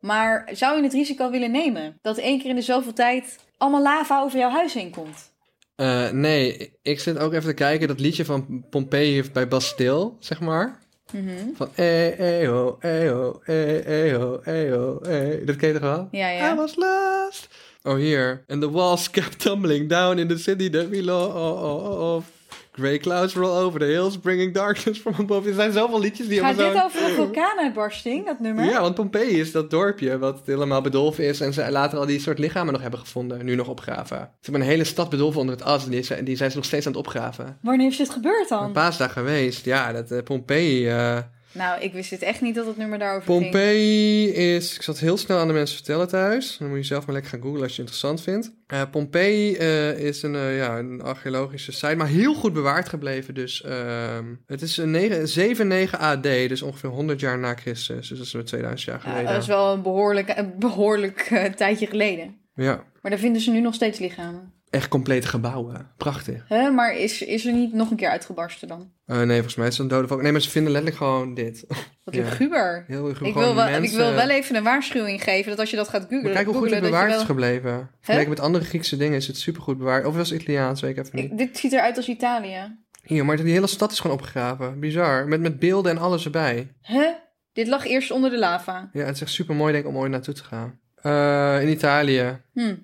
S1: Maar zou je het risico willen nemen dat één keer in de zoveel tijd allemaal lava over jouw huis heen komt?
S2: Eh, nee, ik zit ook even te kijken dat liedje van Pompeii bij Bastille, zeg maar.
S1: Mhm.
S2: Van eh, eh, ho, eh, ho, eh, eh, ho, eh, ho, eh. Dat ken je toch wel?
S1: Ja, ja.
S2: I was lost. Oh, hier. And the walls kept tumbling down in the city that we oh, love. Grey clouds roll over the hills, bringing darkness from above. Er zijn zoveel liedjes die
S1: Gaat
S2: allemaal
S1: dit
S2: zo...
S1: over een vulkaanuitbarsting, dat nummer?
S2: Ja, want Pompeii is dat dorpje wat helemaal bedolven is. En ze later al die soort lichamen nog hebben gevonden, nu nog opgraven. Ze hebben een hele stad bedolven onder het as en die, zijn- die zijn ze nog steeds aan het opgraven.
S1: Wanneer is dit gebeurd
S2: Een
S1: dan?
S2: paasdag geweest, ja, dat eh, Pompeii... eh,
S1: Nou, ik wist het echt niet dat het nummer daarover ging.
S2: Pompeii is. Ik zat heel snel aan de mensen vertellen thuis. Dan moet je zelf maar lekker gaan googlen als je het interessant vindt. Eh, Pompeii eh, is een, eh, ja, een archeologische site, maar heel goed bewaard gebleven. Dus ehm, het is een 9 79 AD, dus ongeveer 100 jaar na Christus. Dus dat is weer 2000 jaar
S1: Ja,
S2: geleden.
S1: dat is wel een behoorlijk, een behoorlijk eh, tijdje geleden.
S2: Ja,
S1: Maar daar vinden ze nu nog steeds lichamen.
S2: echt complete gebouwen. Prachtig.
S1: Hè, Maar is, is er niet nog een keer uitgebarsten dan?
S2: Eh, nee, volgens mij is het een dode valk. Nee, maar ze vinden letterlijk gewoon dit. [laughs]
S1: Wat
S2: Ja.
S1: een guber.
S2: Heel erg
S1: Ik
S2: gewoon
S1: wil, wel,
S2: mensen.
S1: ik wil wel even een waarschuwing geven dat als je dat gaat googlen...
S2: Maar kijk hoe goed het
S1: googlen, dat
S2: bewaard
S1: je
S2: is
S1: wel-
S2: gebleven. Vergeleken met andere Griekse dingen is het supergoed bewaard. Of was het Italiaans, weet ik even niet.
S1: Ik- dit ziet eruit als Italië.
S2: Ja, maar die hele stad is gewoon opgegraven. Bizar. Met, met beelden en alles erbij.
S1: Hè? Dit lag eerst onder de lava.
S2: Ja, het is echt super mooi denk ik om ooit naartoe te gaan. Eh, in Italië.
S1: Hm.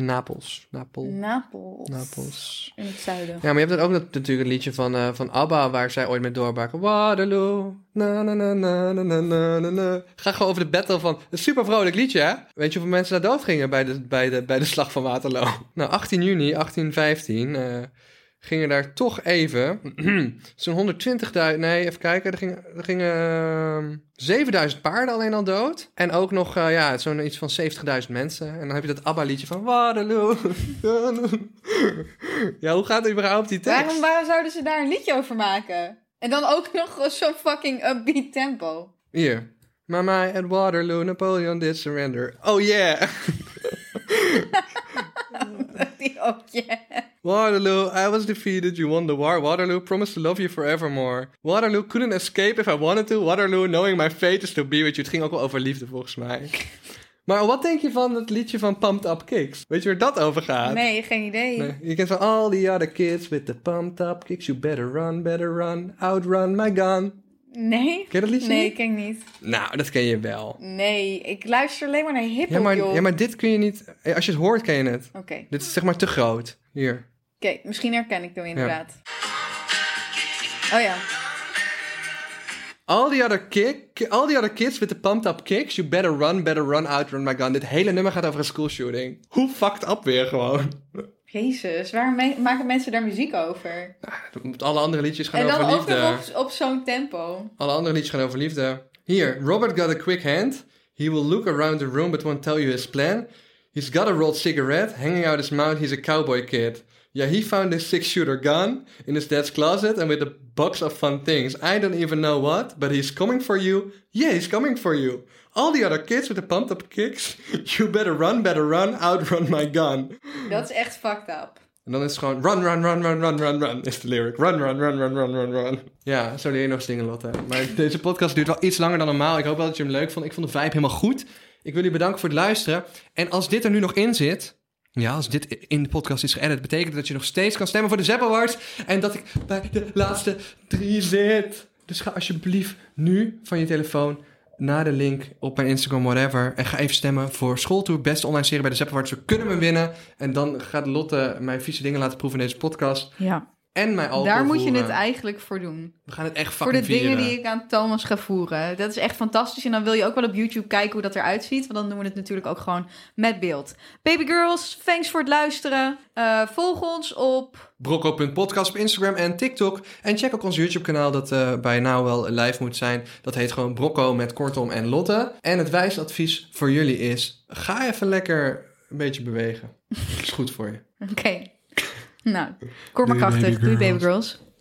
S2: Napels. Napel.
S1: Mm. Napels.
S2: Napels.
S1: In het zuiden.
S2: Ja, maar je hebt dan ook dat, natuurlijk het liedje van, eh, van ABBA... waar zij ooit mee doorbraken. Waterloo. Na, na, na, na, na, na, na, na, na. Ga gewoon over de battle van... Een super vrolijk liedje, hè? Weet je hoeveel mensen daar dood gingen bij de, bij de, bij de slag van Waterloo? [laughs] Nou, 18 juni 1815... eh, gingen daar toch even [clears throat] zo'n 120.000... Nee, even kijken. Er gingen, er gingen ehm, 7000 paarden alleen al dood. En ook nog eh, ja, zo'n iets van 70.000 mensen. En dan heb je dat ABBA-liedje van Waterloo. [laughs] ja, hoe gaat überhaupt die tekst?
S1: Waarom, waarom zouden ze daar een liedje over maken? En dan ook [laughs] nog zo'n fucking upbeat tempo. [laughs]
S2: Hier. Mama at Waterloo, Napoleon did surrender. Oh yeah!
S1: Die ook, ja.
S2: Waterloo, I was defeated, you won the war. Waterloo promised to love you forevermore. Waterloo couldn't escape if I wanted to. Waterloo, knowing my fate is to be with you. Het ging ook wel over liefde volgens
S1: [laughs]
S2: mij. Maar wat denk je van het liedje van Pumped Up Kicks? Weet je waar dat over gaat?
S1: Nee, geen idee.
S2: Nee, Je kent van all the other kids with the pumped up kicks. You better run, better run, outrun my gun.
S1: Nee?
S2: Ken je dat liedje
S1: Nee,
S2: niet?
S1: ken ik niet.
S2: Nou, dat ken je wel.
S1: Nee, ik luister alleen maar naar hiphop,
S2: Ja maar,
S1: joh.
S2: ja, maar dit kun je niet... eh, Als je het hoort, ken je het.
S1: Oké, oké,
S2: Dit is zeg maar te groot. Hier.
S1: misschien herken ik hem inderdaad. Oh ja.
S2: All the other kick, all the other kids with the pumped up kicks, you better run, better run out, run my gun. Dit hele nummer gaat over een schoolshooting. Hoe fucked up weer gewoon.
S1: Jezus, waarom me- maken mensen daar muziek over?
S2: Want Ah, Alle andere liedjes gaan
S1: en dan
S2: over
S1: ook
S2: liefde.
S1: nog op, op zo'n tempo.
S2: Alle andere liedjes gaan over liefde. Hier, Robert got a quick hand. He will look around the room but won't tell you his plan. He's got a rolled cigarette hanging out his mouth. He's a cowboy kid. Yeah, he found this six shooter gun in his dad's closet and with a box of fun things. I don't even know what, but he's coming for you. Yeah, he's coming for you. All the other kids with the pumped up kicks. [laughs] You better run, better run, outrun my gun.
S1: Dat is echt fucked up.
S2: En dan is het gewoon run, run, run, run, run, run, run. Is de lyric. Run, run, run, run, run, run, run. Ja, zo leer je nog zingen, Lotte. Maar deze podcast duurt wel iets langer dan normaal. Ik hoop wel dat je hem leuk vond. Ik vond de vibe helemaal goed. Ik wil jullie bedanken voor het luisteren. En als dit er nu nog in zit... Ja, als dit in de podcast is geëdit, betekent dat dat je nog steeds kan stemmen voor de Zep Awards. En dat ik bij de laatste drie zit. Dus ga alsjeblieft nu van je telefoon naar de link op mijn Instagram, whatever. En ga even stemmen voor Schooltour, beste online serie bij de Zep Awards. We kunnen hem winnen. En dan gaat Lotte mijn vieze dingen laten proeven in deze podcast.
S1: Ja.
S2: En mijn alcohol
S1: Daar moet je
S2: voeren.
S1: het eigenlijk voor doen.
S2: We gaan het echt
S1: Voor
S2: fucking
S1: de dingen
S2: vieren.
S1: die ik aan Thomas ga voeren. Dat is echt fantastisch. En dan wil je ook wel op YouTube kijken hoe dat eruit ziet. Want dan doen we het natuurlijk ook gewoon met beeld. Baby girls, thanks voor het luisteren. Eh, volg ons op... [laughs]
S2: Brocco.podcast op Instagram en TikTok. En check ook ons YouTube-kanaal dat eh bij nou wel live moet zijn. Dat heet gewoon Brocco met Kortom en Lotte. En het wijs advies voor jullie is... ga even lekker een beetje bewegen. [laughs] is goed voor je.
S1: Oké. Nou, kom maar
S2: Doei,
S1: krachtig.
S2: baby
S1: Doei baby
S2: girls.
S1: girls.